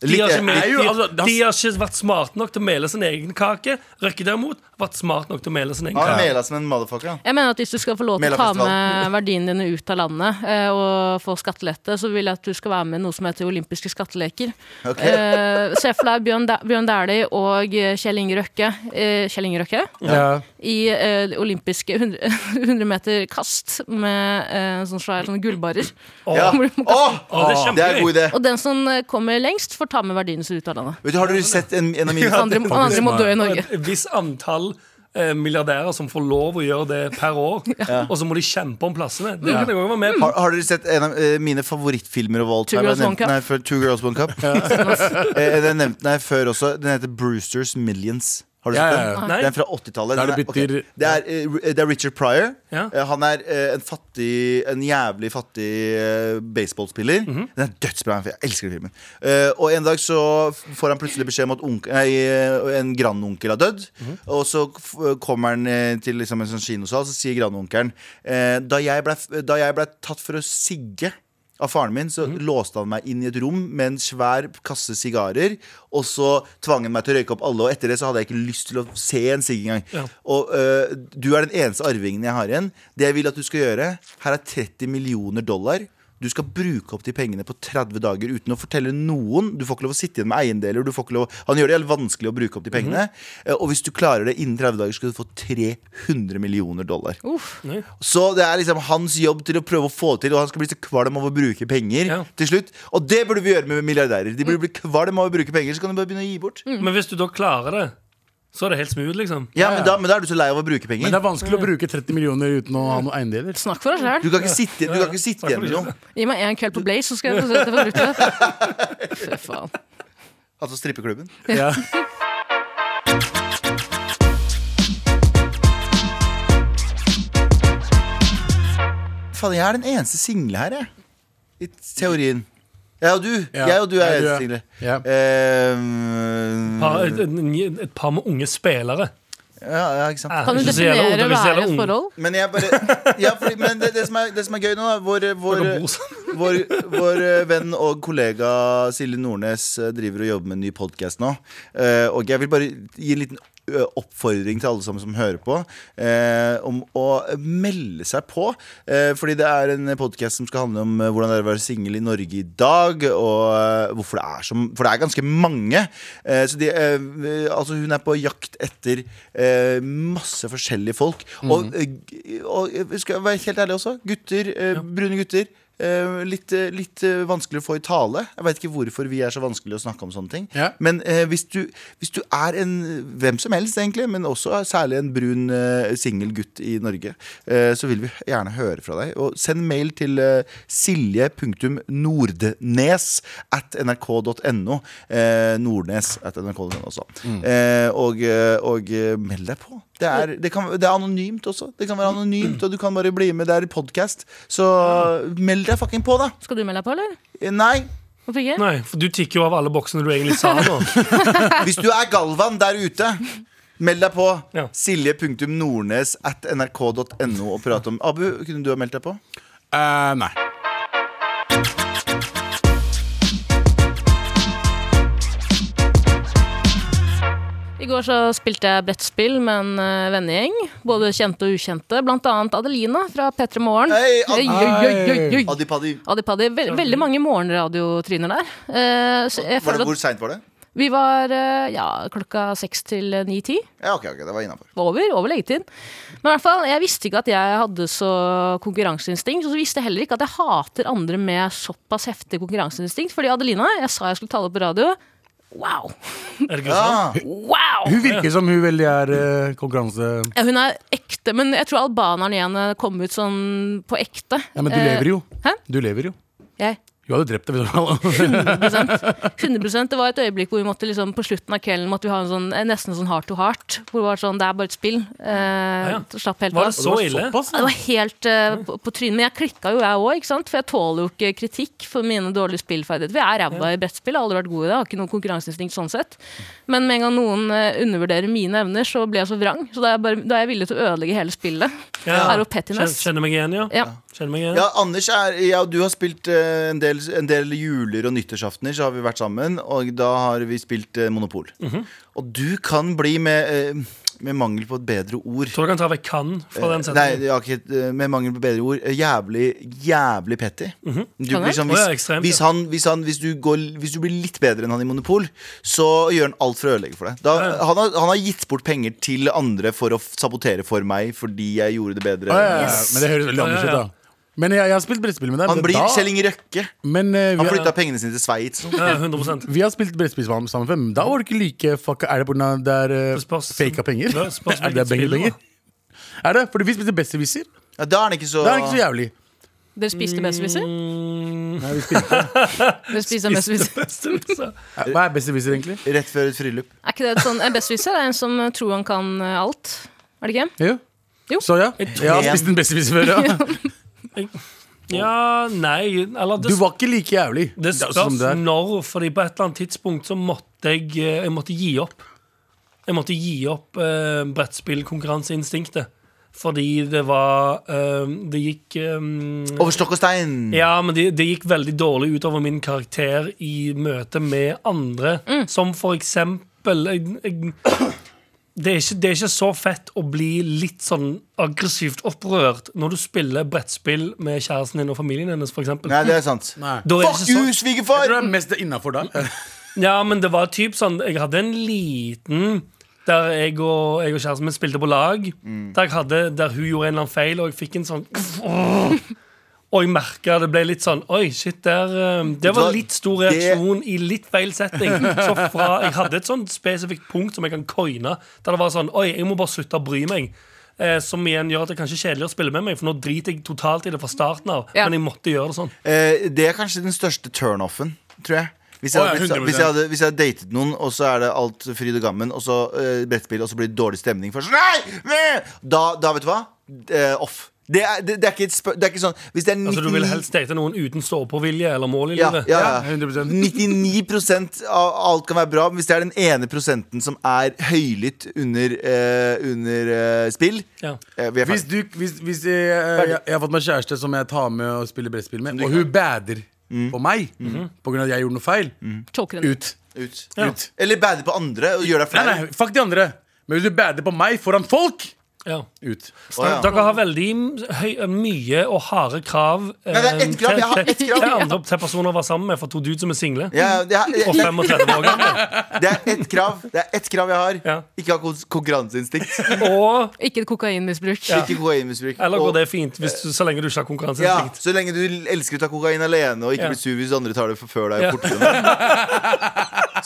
Speaker 5: De
Speaker 2: Litt-
Speaker 5: har, ikke,
Speaker 2: Nei,
Speaker 5: mel-
Speaker 4: jo, altså,
Speaker 5: de,
Speaker 4: det har-
Speaker 5: de har ikke vært smart nok til å mele sin egen kake. Røkke derimot har vært smart nok til å mele sin egen
Speaker 2: Han har
Speaker 5: kake.
Speaker 2: mela som en motherfucker. Han.
Speaker 3: Jeg mener at Hvis du skal få lov til å ta
Speaker 2: Melafestivalen.
Speaker 3: med verdiene dine ut av landet eh, og få skattelette, så vil jeg at du skal være med i noe som heter olympiske skatteleker.
Speaker 2: Ok.
Speaker 3: Eh, Se for deg Bjørn Dæ- Bjørn Dæhlie og eh, Kjell Inge Røkke eh, Kjell Inge Røkke
Speaker 4: Ja.
Speaker 3: i eh, olympiske 100, 100 meter kast med eh, sånn svær sånn gullbarer.
Speaker 2: Ja.
Speaker 3: Hvor du må kaste-
Speaker 2: Åh,
Speaker 5: Å, det er
Speaker 2: det er en
Speaker 5: kjempegøy.
Speaker 2: god idé.
Speaker 3: Og den som eh, kommer lengst, får ta med verdiene sine ut av landet.
Speaker 2: Vet du, har du sett en, en av mine
Speaker 3: Han andre, han andre må dø i Norge.
Speaker 5: et visst antall eh, milliardærer som får lov å gjøre det per år, og så må de kjempe om plassene. Det kan jeg også være med på.
Speaker 2: Har, har dere sett en av eh, mine favorittfilmer of all
Speaker 3: Two
Speaker 2: time? Jeg
Speaker 3: Girls,
Speaker 2: nevnte
Speaker 3: One Cup.
Speaker 2: den her eh, før- Two Girls One Cup. Eh, Den nevnte den her før også. Den heter Brewsters Millions. Har du
Speaker 4: Ja,
Speaker 2: sett
Speaker 4: ja, ja.
Speaker 2: den?
Speaker 3: Ah.
Speaker 5: Nei.
Speaker 2: Den er fra 80-tallet.
Speaker 4: Der
Speaker 2: Den er-
Speaker 4: det bytter-
Speaker 2: ok. Det, er, eh, Ri- det er Richard Pryor.
Speaker 5: Ja.
Speaker 2: Eh, Han er eh, en fattig En jævlig fattig eh, baseballspiller. Den er dødsbra. Jeg elsker den filmen. Eh, og en dag så f- får han plutselig beskjed om at onk- nei, eh, en grandonkel har dødd. Og så f- kommer han eh, til liksom en sånn kinosal, så sier grandonkelen eh, da, jeg ble f- da jeg ble tatt for å sigge av faren min så låste han meg inn i et rom med en svær kasse sigarer. Og så tvang han meg til å røyke opp alle, og etter det så hadde jeg ikke lyst til å se en sigg engang.
Speaker 5: Ja.
Speaker 2: Og øh, du er den eneste arvingen jeg har igjen. Det jeg vil at du skal gjøre, her er 30 millioner dollar. Du skal bruke opp de pengene på 30 dager uten å fortelle noen. Du får ikke lov å sitte igjen med eiendeler. Du får ikke lov Han gjør det helt vanskelig å bruke opp de pengene. Eh, Og hvis du klarer det innen 30 dager, skal du få 300 millioner dollar.
Speaker 3: Uff.
Speaker 2: Så det er liksom hans jobb til å prøve å få til, og han skal bli så kvalm av å bruke penger
Speaker 5: Ja.
Speaker 2: til slutt. Og det burde vi gjøre med milliardærer. De
Speaker 4: Mm.
Speaker 2: burde bli kvalm av å bruke penger, så kan du bare begynne å gi bort.
Speaker 5: Men hvis du da klarer det, så er det helt smooth, liksom.
Speaker 2: Ja, men da, men da er du så lei av å bruke penger.
Speaker 4: Men det er vanskelig å bruke 30 millioner uten å ha noen eiendeler.
Speaker 3: Snakk for deg sjøl.
Speaker 2: Du kan ikke sitte, du kan ikke sitte igjen med noe.
Speaker 3: Gi meg en kveld på Blaze, så skal jeg få se dette produktet. Fy faen.
Speaker 2: Altså strippeklubben.
Speaker 4: Ja.
Speaker 2: Faen, jeg er den eneste single her, jeg. I teorien. Jeg og du.
Speaker 4: Ja.
Speaker 2: Jeg og du er
Speaker 4: Ja, du
Speaker 2: eneste
Speaker 4: er.
Speaker 2: single.
Speaker 4: Ja.
Speaker 2: Ehm,
Speaker 5: Par, et, et, et par med unge spillere.
Speaker 2: ja, ja, ikke sant.
Speaker 5: Er
Speaker 3: Kan du
Speaker 5: ikke så jævla
Speaker 3: definere
Speaker 5: ung,
Speaker 3: hva
Speaker 5: hvis
Speaker 3: er
Speaker 5: jævla
Speaker 3: et
Speaker 5: ung.
Speaker 3: forhold?
Speaker 2: Men jeg bare ja, fordi, men det, det, som er, det som er gøy nå, er vår, vår,
Speaker 5: Dere bor sammen.
Speaker 2: vår, vår eh, venn og kollega Silje Nordnes eh, driver og jobber med en ny podkast nå. Eh, Og jeg vil bare gi en liten ø, oppfordring til alle sammen som hører på, eh, om å melde seg på. Eh, fordi det er en podkast som skal handle om eh, hvordan det er å være singel i Norge i dag, og eh, hvorfor det er som For det er ganske mange. Eh, så de, eh, altså hun er på jakt etter eh, masse forskjellige folk. Og, eh, g- og jeg skal være helt ærlig også, gutter, eh, brune gutter. eh, litt, eh, litt eh, vanskelig å få i tale. Jeg veit ikke hvorfor vi er så vanskelig å snakke om sånne ting.
Speaker 4: Ja.
Speaker 2: Men eh, hvis, du, hvis du er en hvem som helst, egentlig, men også særlig en brun eh, singel gutt i Norge, eh, så vil vi gjerne høre fra deg. Og send mail til eh, silje.nordnes at nrk.no. Eh, Nordnes at nrk.no også. Eh, og, eh, og eh, meld deg på. Det er, det, kan, det er anonymt også. Det kan være anonymt, og du kan bare bli med. Det er podkast. Så meld deg fucking på, da.
Speaker 3: Skal du melde deg på, eller?
Speaker 2: Eh, Nei,
Speaker 3: Hvorfor ikke?
Speaker 5: Nei, for du tikker jo av alle boksene du egentlig sa nå.
Speaker 2: Hvis du er Galvan der ute Meld deg på
Speaker 5: Ja.
Speaker 2: silje.nordnes at nrk.no og prat om Abu, kunne du ha meldt deg på?
Speaker 4: Eh, nei.
Speaker 3: I går så spilte jeg brettspill med en eh, vennegjeng. Både kjente og ukjente. Blant annet Adelina fra P3 Morgen.
Speaker 2: Hei, Ad-
Speaker 3: Oi, oi, oi, oi, oi.
Speaker 2: Adipadi,
Speaker 3: Adipadi. Ve veldig mange morgenradiotryner der. Eh, så
Speaker 2: var
Speaker 3: jeg
Speaker 2: det,
Speaker 3: føler
Speaker 2: hvor
Speaker 3: at
Speaker 2: seint var det?
Speaker 3: vi var eh, ja, klokka seks til ni-ti.
Speaker 2: Ja, ok, ok, det var innafor.
Speaker 3: Over, over leggetid. Men i hvert fall, jeg visste ikke at jeg hadde så konkurranseinstinkt. Og så visste jeg heller ikke at jeg hater andre med såpass heftig konkurranseinstinkt. Fordi Adelina, jeg sa jeg skulle tale på radio. Wow!
Speaker 5: Er det ikke sant?
Speaker 2: Ah,
Speaker 3: sånn. Wow!
Speaker 4: Hun virker som hun veldig er eh, konkurranse...
Speaker 3: Ja, hun er ekte, men jeg tror albaneren igjen kom ut sånn på ekte.
Speaker 4: Ja, men du
Speaker 5: Eh,
Speaker 4: lever jo.
Speaker 3: Hæ?
Speaker 4: Du lever jo.
Speaker 3: Jeg.
Speaker 4: Hun hadde drept deg. vet du.
Speaker 3: 100 Det var et øyeblikk hvor vi måtte liksom, på slutten av kvelden måtte vi ha en sånn, eh, nesten sånn heart to heart. Hvor det var sånn, det er bare et spill. Eh,
Speaker 5: ja.
Speaker 3: Slapp helt
Speaker 5: Var
Speaker 3: av.
Speaker 5: det så ille?
Speaker 4: Såpass,
Speaker 3: Ja, Det var helt eh, på, på trynet. Men jeg klikka jo, jeg òg, ikke sant? for jeg tåler jo ikke kritikk for mine dårlige spillferdigheter. For jeg er ræva i brettspill, jeg har aldri vært god i det. Jeg har ikke noe konkurranseinstinkt sånn sett. Men med en gang noen eh, undervurderer mine evner, så ble jeg så vrang. Så da er jeg, bare, da er jeg villig til å ødelegge hele spillet.
Speaker 5: Ja.
Speaker 3: Er jo pettiness.
Speaker 5: Kjen- Kjenner meg igjen, ja.
Speaker 3: Ja.
Speaker 5: Kjenner meg igjen.
Speaker 2: Ah, ja, Anders er, ja, du har spilt eh, en del, en del juler og nyttårsaftener, så har vi vært sammen, og da har vi spilt eh, Monopol. Og du kan bli med, eh, med mangel på et bedre ord
Speaker 5: Tror du kan ta vekk kan fra
Speaker 2: Eh, Nei,
Speaker 5: den setningen?
Speaker 2: jeg har ikke, eh, med mangel på bedre ord eh, Jævlig, jævlig petty du,
Speaker 3: Kan
Speaker 2: blir sånn,
Speaker 5: Å, ja,
Speaker 2: hvis,
Speaker 5: ekstremt,
Speaker 2: hvis,
Speaker 5: ja.
Speaker 2: han, hvis, han, hvis, du går, hvis du blir litt bedre enn han i Monopol Så gjør han alt for å ødelegge for deg da, han, har, han har gitt bort penger til andre For å f- sabotere for meg Fordi jeg gjorde det bedre
Speaker 4: Ja, ja, ja. Men det høres veldig
Speaker 5: Ja, ja,
Speaker 4: annerledes
Speaker 5: ja.
Speaker 4: ut, da. Men jeg, jeg har spilt brettspill med deg.
Speaker 2: Han
Speaker 4: men
Speaker 2: blir
Speaker 4: da-
Speaker 2: Kjell Inge Røkke
Speaker 4: Men eh,
Speaker 2: Han
Speaker 4: vi,
Speaker 2: flytta
Speaker 4: har,
Speaker 2: pengene sine til Sveits
Speaker 5: Ja, 100
Speaker 4: vi har spilt brettspill sammen sammen før, men da var det ikke like fucka. Er det pga. det er
Speaker 5: Det
Speaker 4: uh,
Speaker 5: spørs-
Speaker 4: faka penger?
Speaker 5: det spørs
Speaker 4: er det
Speaker 5: hvilket spill det
Speaker 4: pengepenger?
Speaker 5: var.
Speaker 4: Er det? Fordi vi spilte besserwisser.
Speaker 2: ja, Da er han ikke så,
Speaker 4: Da er det ikke så jævlig.
Speaker 3: Dere spiste besserwisser?
Speaker 5: Mm,
Speaker 4: Nei, vi spilte.
Speaker 3: Dere spiser en besserwisser.
Speaker 5: besserwisser.
Speaker 4: Hva er besserwisser, egentlig?
Speaker 2: Rett før et bryllup.
Speaker 3: Er ikke det et sånn, En besserwisser er en som tror han kan eh, alt. Er det ikke?
Speaker 4: Jo.
Speaker 3: Jo.
Speaker 4: Så ja. Jeg har spist en besserwisser før, ja.
Speaker 5: Ja, nei Eller
Speaker 4: Du
Speaker 5: det,
Speaker 4: var ikke like jævlig.
Speaker 5: det
Speaker 4: er sånn
Speaker 5: spørs
Speaker 4: det er.
Speaker 5: når, fordi på et eller annet tidspunkt så måtte jeg eh, Jeg måtte gi opp. Jeg måtte gi opp eh, brettspillkonkurranseinstinktet. Fordi det var eh, Det gikk eh,
Speaker 2: Over stokk og stein.
Speaker 5: Ja, men det, det gikk veldig dårlig utover min karakter i møte med andre. Som for eksempel jeg, jeg, det, er ikke, det er ikke så fett å bli litt sånn aggressivt opprørt når du spiller brettspill med kjæresten din og familien hennes, for eksempel.
Speaker 2: Nei, det er sant.
Speaker 4: Nei.
Speaker 5: Da er det
Speaker 2: Fuck
Speaker 5: ikke
Speaker 2: you,
Speaker 5: så,
Speaker 4: Jeg tror
Speaker 2: svigerfar!
Speaker 4: det er mest innafor da.
Speaker 5: ja, men det var typ sånn Jeg hadde en liten der jeg og, jeg og kjæresten min spilte på lag.
Speaker 2: Mm.
Speaker 5: Der, jeg hadde, der hun gjorde en eller annen feil, og jeg fikk en sånn Og jeg merka det ble litt sånn Oi, shit, der eh, Det
Speaker 2: hva?
Speaker 5: var litt stor
Speaker 2: Det-
Speaker 5: reaksjon i litt feil setting. Så fra Jeg hadde et sånt spesifikt punkt som jeg kan coine, der det var sånn Oi, jeg må bare slutte å bry meg. Eh, som igjen gjør at det kanskje er kjedeligere å spille med meg, for nå driter jeg totalt i det fra starten av.
Speaker 3: Ja.
Speaker 5: Men jeg måtte gjøre det sånn.
Speaker 2: Eh, det er kanskje den største turnoffen, tror jeg. Hvis jeg,
Speaker 4: Å, ja,
Speaker 2: hadde, blitt så- hvis,
Speaker 4: 100%.
Speaker 2: jeg hadde, hvis jeg hadde datet noen, og så er det alt fryd og gammen, og så eh, brettspill, og så blir det dårlig stemning først Nei! Meh! Da, da, vet du hva? Eh, off. Det er, det, det, er ikke et spør, det er ikke sånn Hvis det er 99,
Speaker 5: Altså, du vil helst date noen uten stå-på-vilje eller mål i
Speaker 2: ja,
Speaker 5: livet.
Speaker 2: ja,
Speaker 4: Ja,
Speaker 2: ja.
Speaker 4: 100
Speaker 2: 99 av alt kan være bra, men hvis det er den ene prosenten som er høylytt under, eh, under eh, spill
Speaker 5: Ja.
Speaker 2: eh, vi er
Speaker 4: Hvis,
Speaker 2: ferdig.
Speaker 4: du, hvis, hvis eh, jeg, jeg, jeg har fått meg kjæreste som jeg tar med og spiller brettspill med, og hun bader
Speaker 2: Mm.
Speaker 4: på meg på grunn av at jeg gjorde noe feil,
Speaker 3: Choker henne.
Speaker 4: ut.
Speaker 2: Ut.
Speaker 4: ut.
Speaker 2: Eller bade på andre og gjøre deg
Speaker 4: Nei,
Speaker 2: flau.
Speaker 4: nei, fuck de andre. Men hvis du bader på meg foran folk,
Speaker 5: Ja.
Speaker 4: ut.
Speaker 2: Å, ja.
Speaker 5: Dere har veldig høy, mye og harde krav eh,
Speaker 2: Nei, det er ett krav,
Speaker 5: til-
Speaker 2: jeg har ett krav.
Speaker 5: til andre til personer å være sammen med for to dudes som er single.
Speaker 2: Ja, det, er,
Speaker 5: Og
Speaker 2: det,
Speaker 5: 35 år gamle.
Speaker 2: er, det er ett krav Det er ett krav jeg har.
Speaker 5: Ja.
Speaker 2: Ikke ha kon- konkurranseinstinkt.
Speaker 5: Og
Speaker 3: Ikke et kokainmisbruk.
Speaker 2: Ikke kokainmisbruk.
Speaker 5: Eller går
Speaker 2: Og-
Speaker 5: det fint hvis du, så lenge du ikke har
Speaker 2: ja,
Speaker 5: konkurranseinstinkt?
Speaker 2: så lenge du elsker å ta kokain alene og ikke
Speaker 5: Ja.
Speaker 2: blir sur hvis andre tar det for før deg.
Speaker 5: Ja.
Speaker 2: og fortere enn deg.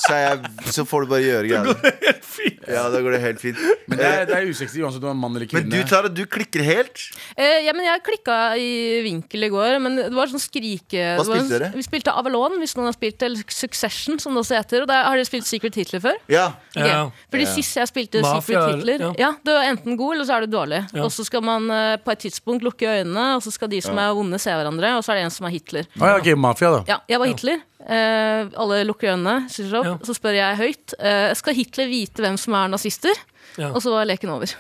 Speaker 2: Så, er jeg, så får du bare gjøre greiene.
Speaker 5: Fy.
Speaker 2: Ja, da går det helt fint. Eh,
Speaker 4: Men det er, det er usexy uansett om du er mann eller kvinne.
Speaker 2: Men du Tara, du klikker helt.
Speaker 3: Eh, ja, men jeg klikka i vinkel i går, men det var sånn skrike...
Speaker 2: Hva
Speaker 3: det var en-
Speaker 2: spilte dere?
Speaker 3: Vi spilte Avalon, hvis noen har spilt det, eller Succession, som det også heter. Og der har dere spilt Secret Hitler før?
Speaker 2: Ja,
Speaker 3: Ok.
Speaker 5: Ja.
Speaker 3: Fordi sist jeg spilte
Speaker 5: Mafia,
Speaker 3: Secret Hitler,
Speaker 5: ja.
Speaker 3: ja. det var enten god, eller så er det dårlig.
Speaker 5: Ja.
Speaker 3: Og så skal man eh, på et tidspunkt lukke øynene, og så skal de som er onde, se hverandre, og så er det en som er Hitler.
Speaker 4: Å ja, ok, mafia, da.
Speaker 3: Ja, jeg var Hitler. Eh, alle lukker øynene, stiller seg opp.
Speaker 5: Ja.
Speaker 3: Så spør jeg høyt eh, Skal Hitler vite hvem som er nazister.
Speaker 5: Ja.
Speaker 3: Og så var leken over.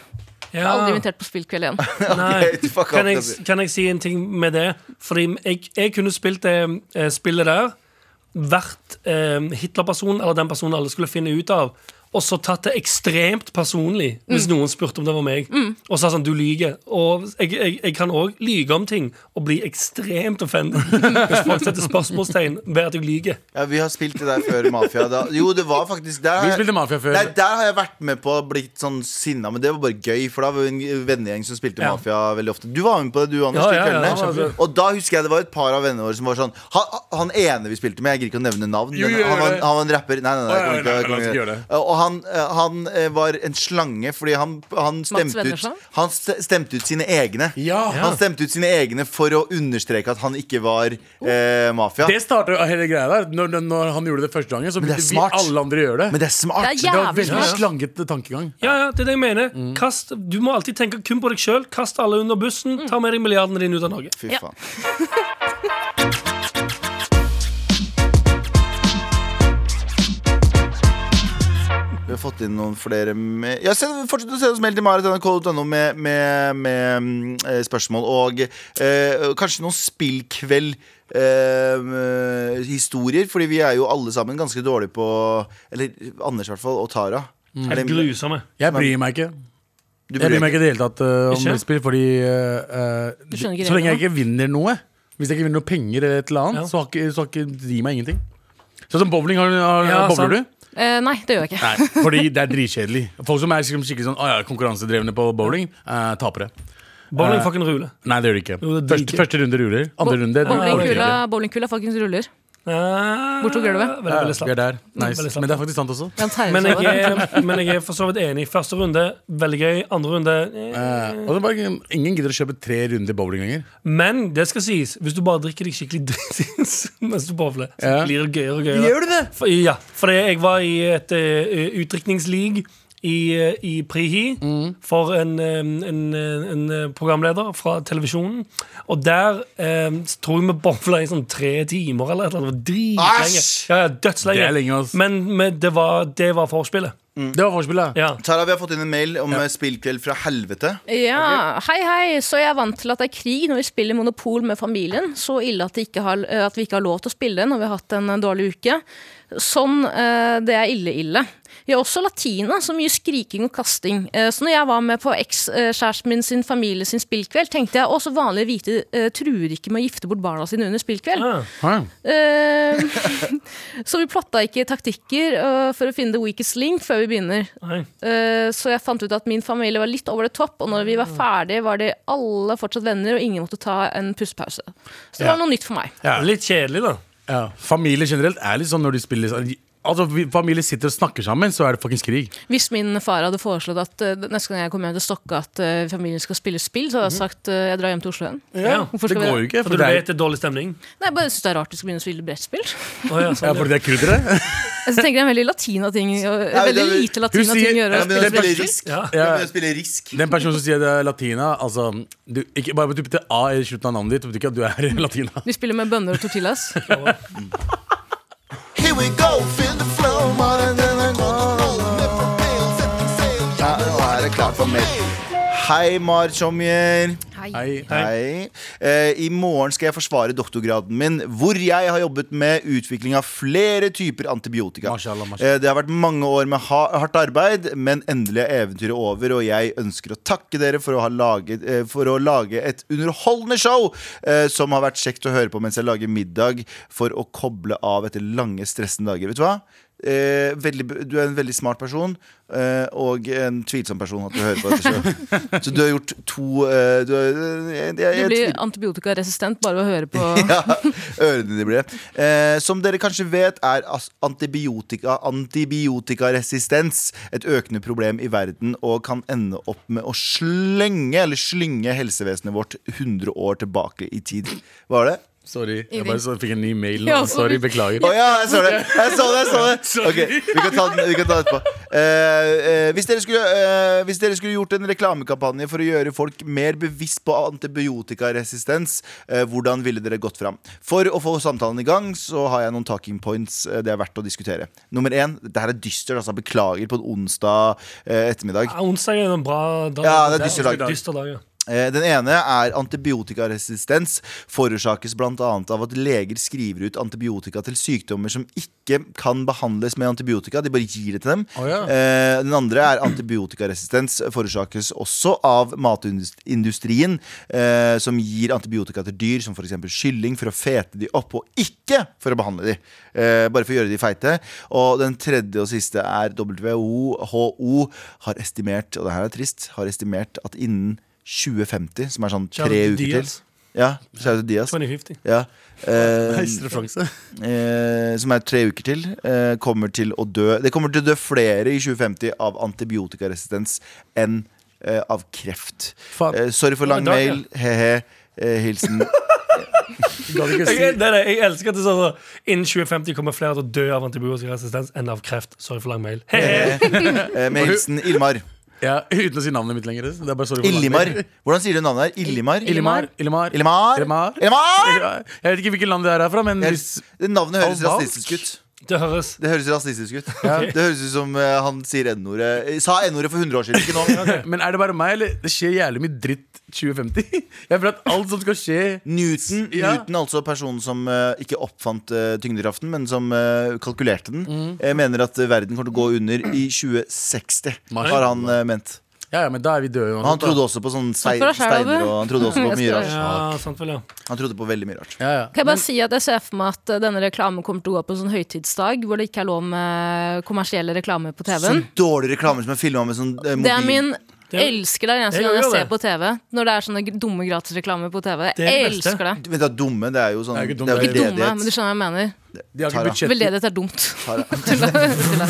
Speaker 3: Jeg er aldri
Speaker 5: Ja.
Speaker 3: invitert på spillkveld igjen.
Speaker 5: Nei.
Speaker 2: Ok, fuck
Speaker 5: Kan
Speaker 2: off,
Speaker 5: jeg,
Speaker 2: Kasper.
Speaker 5: kan jeg si en ting med det? Fordi jeg, jeg kunne spilt det eh, spillet der, vært eh, Hitler-personen eller den personen alle skulle finne ut av, og så tatt det ekstremt personlig hvis noen spurte om det var meg. Og sa sånn, du lyver. Og jeg, jeg, jeg kan òg lyge om ting og bli ekstremt offended hvis folk setter spørsmålstegn ved at jeg lyver.
Speaker 2: ja, vi har spilt det der før Mafia. Da. Jo, det var faktisk der har
Speaker 4: Vi
Speaker 2: jeg-
Speaker 4: spilte mafia før.
Speaker 2: Nei, der har jeg vært med på å blitt sånn sinna, men det var bare gøy. For da var vi en vennegjeng som spilte
Speaker 5: Ja.
Speaker 2: mafia veldig ofte. Du var med på det, du, Anders.
Speaker 5: Ja,
Speaker 2: de
Speaker 5: ja, ja,
Speaker 2: kveldene.
Speaker 5: ja, ja, ja.
Speaker 2: og da husker jeg det var et par av vennene våre som var sånn Han, han ene vi spilte med, jeg gidder ikke å nevne navn,
Speaker 4: Jo,
Speaker 2: men
Speaker 4: jo, jo,
Speaker 2: han, var,
Speaker 4: jo.
Speaker 2: han var en rapper. Nei, nei, nei.
Speaker 4: Å, ja,
Speaker 2: Jeg kommer
Speaker 4: nei,
Speaker 2: ikke, jeg
Speaker 4: nei,
Speaker 2: kommer
Speaker 4: la oss
Speaker 2: ikke. Og han, eh, han eh, var en slange fordi han, han stemte ut
Speaker 3: Wennerstad?
Speaker 2: Han st- stemte ut sine egne.
Speaker 4: Ja.
Speaker 2: Han stemte ut sine egne for å understreke at han ikke var eh, mafia.
Speaker 4: Det starter jo hele greia der. Når, når- når han gjorde det første gangen, så
Speaker 2: det er
Speaker 4: begynte vi
Speaker 2: smart.
Speaker 4: alle andre å gjøre det.
Speaker 2: Men det er smart.
Speaker 3: Det er
Speaker 4: Det var
Speaker 3: jævlig
Speaker 4: veldig
Speaker 3: smart.
Speaker 4: slangete tankegang.
Speaker 5: Ja, ja, det er det jeg mener.
Speaker 2: Mm.
Speaker 5: Kast, du må alltid tenke kun på deg sjøl. Kast alle under bussen. Ta med deg milliardene dine ut av Norge.
Speaker 2: Fy
Speaker 3: Ja.
Speaker 2: faen. Vi har fått inn noen flere med ja, send, Fortsett å sende oss mail til marit.nrk.no med, med, med mm, eh, spørsmål. Og eh, kanskje noen spillkveld. eh, historier, fordi vi er jo alle sammen ganske dårlige på Eller Anders i hvert fall, og Tara. Er
Speaker 4: Mm.
Speaker 5: Helt
Speaker 2: det-
Speaker 5: grusomme.
Speaker 4: Jeg bryr meg ikke.
Speaker 2: du
Speaker 4: Jeg
Speaker 2: bryr
Speaker 4: bryr meg
Speaker 2: deg
Speaker 4: ikke i det hele tatt eh, om
Speaker 5: Ikke?
Speaker 4: brettspill, fordi eh, eh,
Speaker 3: skjønner ikke
Speaker 4: så lenge
Speaker 3: reglene.
Speaker 4: jeg ikke vinner noe, hvis jeg ikke vinner noe penger eller et eller annet,
Speaker 5: Ja.
Speaker 4: så, har ikke, så har ikke de meg ingenting. Sånn som bowling, har, har,
Speaker 5: Ja, sant.
Speaker 4: bowler du?
Speaker 3: Eh, nei, det gjør jeg ikke.
Speaker 4: Nei, fordi det er dritkjedelig. Folk som er liksom skikkelig sånn, ah, ja, konkurransedrevne på bowling, eh, tapere.
Speaker 5: Bowling
Speaker 4: Eh,
Speaker 5: fucking ruler.
Speaker 4: Nei, det gjør de ikke.
Speaker 5: Jo, det er
Speaker 4: Første,
Speaker 5: dritkjedelig.
Speaker 4: første runde ruller, andre runde de orker
Speaker 3: Bowlingkula,
Speaker 4: ikke.
Speaker 3: bowlingkula fuckings ruller.
Speaker 5: Bortover
Speaker 3: Bortover gulvet?
Speaker 5: Eh, Veldig, veldig
Speaker 4: vi er eh?
Speaker 5: slapt.
Speaker 4: der. Nice.
Speaker 5: Veldig slapt.
Speaker 4: Men det er faktisk sant også.
Speaker 3: Han tegner
Speaker 5: Men
Speaker 3: seg over.
Speaker 5: jeg, er, men jeg er for så vidt enig. Første runde, veldig gøy. Andre runde eh.
Speaker 4: Eh, og det er bare, ingen gidder å kjøpe tre runder bowling lenger.
Speaker 5: Men det skal sies, hvis du bare drikker deg skikkelig dritings mens du bowler, så
Speaker 4: Ja.
Speaker 5: blir det gøyere og gøyere.
Speaker 4: du det?
Speaker 5: For, ja, for jeg var i et uh, utdrikningsleague i, eh, i Prihi
Speaker 4: Mm.
Speaker 5: for en, eh, en, eh, en eh, programleder fra televisjonen. Og der eh, tror jeg vi bowla i sånn tre timer eller et eller annet. Det var Dritlenge.
Speaker 2: Æsj!
Speaker 5: Ja, ja, dødslenge.
Speaker 4: Det er lenge, ass.
Speaker 5: Men, men det, var, det var forspillet.
Speaker 4: Mm. Det var forspillet.
Speaker 5: Ja.
Speaker 2: Tara, vi har fått inn en mail om eh, spillkveld fra helvete.
Speaker 3: Ja, hei hei, så jeg er vant til at det er krig når vi spiller Monopol med familien. Så ille at, det ikke har, eh, at vi ikke har lov til å spille når vi har hatt en eh, dårlig uke. Sånn, eh, det er ille-ille. Vi har også latina, så mye skriking og kasting. Eh, Så når jeg var med på ekskjæresten min sin familie sin spillkveld, tenkte jeg også vanlige hvite eh, truer ikke med å gifte bort barna sine under spillkveld.
Speaker 5: Ah.
Speaker 4: Hæ?
Speaker 3: Eh, så vi plotta ikke taktikker eh, for å finne the weakest link før vi begynner.
Speaker 5: Nei.
Speaker 3: Eh, Så jeg fant ut at min familie var litt over det topp, og når vi var ferdige, var de alle fortsatt venner, og ingen måtte ta en pustepause. Så det
Speaker 4: Ja.
Speaker 3: var noe nytt for meg.
Speaker 4: Ja.
Speaker 5: Litt kjedelig, da.
Speaker 4: Ja. Familie generelt er litt sånn når de spiller sånn- Altså, vi- Familie sitter og snakker sammen, så er det fuckings krig.
Speaker 3: Hvis min far hadde foreslått at eh, neste gang jeg kommer hjem til Stokke, at eh, familien skal spille spill, så hadde jeg sagt eh, jeg drar hjem til Oslo igjen.
Speaker 5: Ja.
Speaker 3: Hvorfor
Speaker 4: Det
Speaker 3: skal vi
Speaker 4: går jo ikke.
Speaker 5: For du
Speaker 4: det er,
Speaker 5: vet det er dårlig stemning.
Speaker 3: Nei, jeg bare syns det er rart vi skal begynne å spille brettspill.
Speaker 5: Å, ja,
Speaker 4: ja,
Speaker 5: sånn, ja.
Speaker 4: fordi det er kurdere.
Speaker 3: Jeg tenker det er en veldig latina ting, og en
Speaker 2: det
Speaker 3: veldig
Speaker 2: er-
Speaker 3: lite latina
Speaker 4: sier-
Speaker 3: ting å gjøre.
Speaker 2: Ja, men
Speaker 3: å spille
Speaker 2: jeg spiller
Speaker 3: brettspill.
Speaker 2: risk.
Speaker 5: Ja.
Speaker 2: Jeg
Speaker 4: Ja.
Speaker 2: begynner å spille risk.
Speaker 4: Den personen som sier det er latina altså, du, Ikke bare typ til A i slutten av navnet ditt, betyr ikke at du er latina.
Speaker 3: De spiller med bønner og tortillas.
Speaker 7: Here we go, feel the flow. Modern than I
Speaker 2: Ja, nå er det klart for mail. Hei, Mar Tjomjer.
Speaker 4: Nei.
Speaker 2: Hei. Eh, I morgen skal jeg forsvare doktorgraden min, hvor jeg har jobbet med utvikling av flere typer antibiotika.
Speaker 4: Mashallah, mashallah.
Speaker 2: Eh, det har vært mange år med ha hardt arbeid, men endelig er eventyret over, og jeg ønsker å takke dere for å, ha laget, eh, for å lage et underholdende show eh, som har vært kjekt å høre på mens jeg lager middag for å koble av etter lange, stressende dager. Vet du hva? Eh, veldig, du er en veldig smart person, eh, og en tvilsom person. At du hører på dette selv. Så du har gjort to eh, du, har- jeg, jeg,
Speaker 3: Du
Speaker 2: jeg,
Speaker 3: blir antibiotikaresistent bare ved å høre på
Speaker 2: ja, ørene dine blir det. Eh, som dere kanskje vet, er as- antibiotika, antibiotikaresistens et økende problem i verden og kan ende opp med å slenge eller slynge helsevesenet vårt 100 år tilbake i tid. Hva var det?
Speaker 4: Sorry. Jeg bare så, fikk en ny mail
Speaker 3: Ja,
Speaker 4: nå. Sorry, beklager.
Speaker 2: Å ja, jeg så det! Jeg så det, jeg så det. Ok, vi kan ta den vi kan ta det etterpå. Eh, eh, hvis, dere skulle, eh, hvis dere skulle gjort en reklamekampanje for å gjøre folk mer bevisst på antibiotikaresistens, eh, hvordan ville dere gått fram? For å få samtalen i gang, så har jeg noen talking points eh, det er verdt å diskutere. Nummer én, dette her er dystert, altså. Beklager på en onsdag eh, ettermiddag.
Speaker 5: Ja, onsdag er en bra dag.
Speaker 2: Ja, det er dyster dag.
Speaker 5: Dyster dag ja.
Speaker 2: Eh, Den ene er antibiotikaresistens forårsakes bl.a. av at leger skriver ut antibiotika til sykdommer som ikke kan behandles med antibiotika. De bare gir det til dem.
Speaker 4: Å, ja.
Speaker 2: Eh, Den andre er antibiotikaresistens forårsakes også av matindustrien, eh, som gir antibiotika til dyr som f.eks. kylling, for å fete de opp, og ikke for å behandle de. Eh, Bare for å gjøre de feite. Og den tredje og siste er WHO har estimert, og det her er trist, har estimert at innen 2050, som er sånn
Speaker 5: Shout out
Speaker 2: tre
Speaker 5: to
Speaker 2: uker til
Speaker 5: Diaz.
Speaker 2: Ja, shout out to Diaz.
Speaker 5: 2050.
Speaker 2: Ja. Eh,
Speaker 4: Nice referanse.
Speaker 2: eh, som er tre uker til, eh, kommer til å dø Det kommer til å dø flere i 2050 av antibiotikaresistens enn eh, av kreft.
Speaker 4: Faen.
Speaker 2: Eh, sorry for lang
Speaker 5: Det er
Speaker 2: mail.
Speaker 5: dark,
Speaker 2: He-he. Eh, hilsen
Speaker 4: Gadd ikke
Speaker 5: Jeg,
Speaker 4: si
Speaker 5: det er det. jeg elsker at det er sånn at Innen 2050 kommer flere til å dø av antibiotikaresistens enn av kreft. Sorry for lang mail. Hehe.
Speaker 2: eh, med hilsen Ilmar.
Speaker 4: ja, Uten å si navnet mitt lenger. Det er bare sorry for
Speaker 2: Illimar. Hvordan sier du navnet der? Illimar?
Speaker 4: Illimar. Illimar.
Speaker 2: Illimar?
Speaker 4: Illimar.
Speaker 2: Illimar?
Speaker 4: Jeg vet ikke hvilket land det er herfra, men hvis
Speaker 2: Det Navnet høres
Speaker 4: Albansk?
Speaker 2: rasistisk ut.
Speaker 5: Det høres
Speaker 2: Det høres rasistisk ut. Det høres ut som eh, han sier N-ordet Eh, Sa N-ordet for 100 år siden, ikke nå.
Speaker 4: Men er det bare meg, eller? Det skjer jævlig mye dritt 2050. Jeg føler at alt som skal skje
Speaker 2: Newton,
Speaker 4: Ja.
Speaker 2: Newton altså personen som eh, ikke oppfant eh, tyngdekraften, men som eh, kalkulerte den, eh, mener at eh, verden kommer til å gå under i 2060.
Speaker 4: Marsj.
Speaker 2: Har han eh, ment.
Speaker 4: Ja, ja, men da er vi døde
Speaker 2: Og han
Speaker 4: uansett. da.
Speaker 2: trodde også på sånne stein,
Speaker 3: for deg selv,
Speaker 2: steiner
Speaker 3: Abu.
Speaker 2: og han trodde også på mye rart.
Speaker 5: Ja, sant vel, ja.
Speaker 2: Han trodde på veldig mye rart.
Speaker 4: Ja, ja.
Speaker 3: Kan jeg bare si at jeg ser for meg at eh, denne reklamen kommer til å gå på en sånn høytidsdag hvor det ikke er lov med kommersielle reklame på TV-en.
Speaker 2: Sånn dårlig reklame som er filma med sånn eh, mobil.
Speaker 3: Det er min
Speaker 5: Det er-
Speaker 3: elsker det eneste
Speaker 5: Jeg
Speaker 3: gang jeg
Speaker 5: gjør det.
Speaker 3: ser på TV. Når det er sånne dumme gratisreklamer på TV.
Speaker 5: Det
Speaker 3: Jeg
Speaker 5: er det beste.
Speaker 3: elsker det.
Speaker 2: Vent da, dumme, det er jo sånn
Speaker 4: Det er ikke dumme,
Speaker 2: Det er jo
Speaker 3: Ikke
Speaker 2: ikke
Speaker 3: dumme, men du
Speaker 2: ledighet.
Speaker 3: skjønner hva jeg mener.
Speaker 4: De har ikke
Speaker 2: Tara.
Speaker 4: budsjett.
Speaker 3: Veldedighet er dumt. Tulla. Tulla.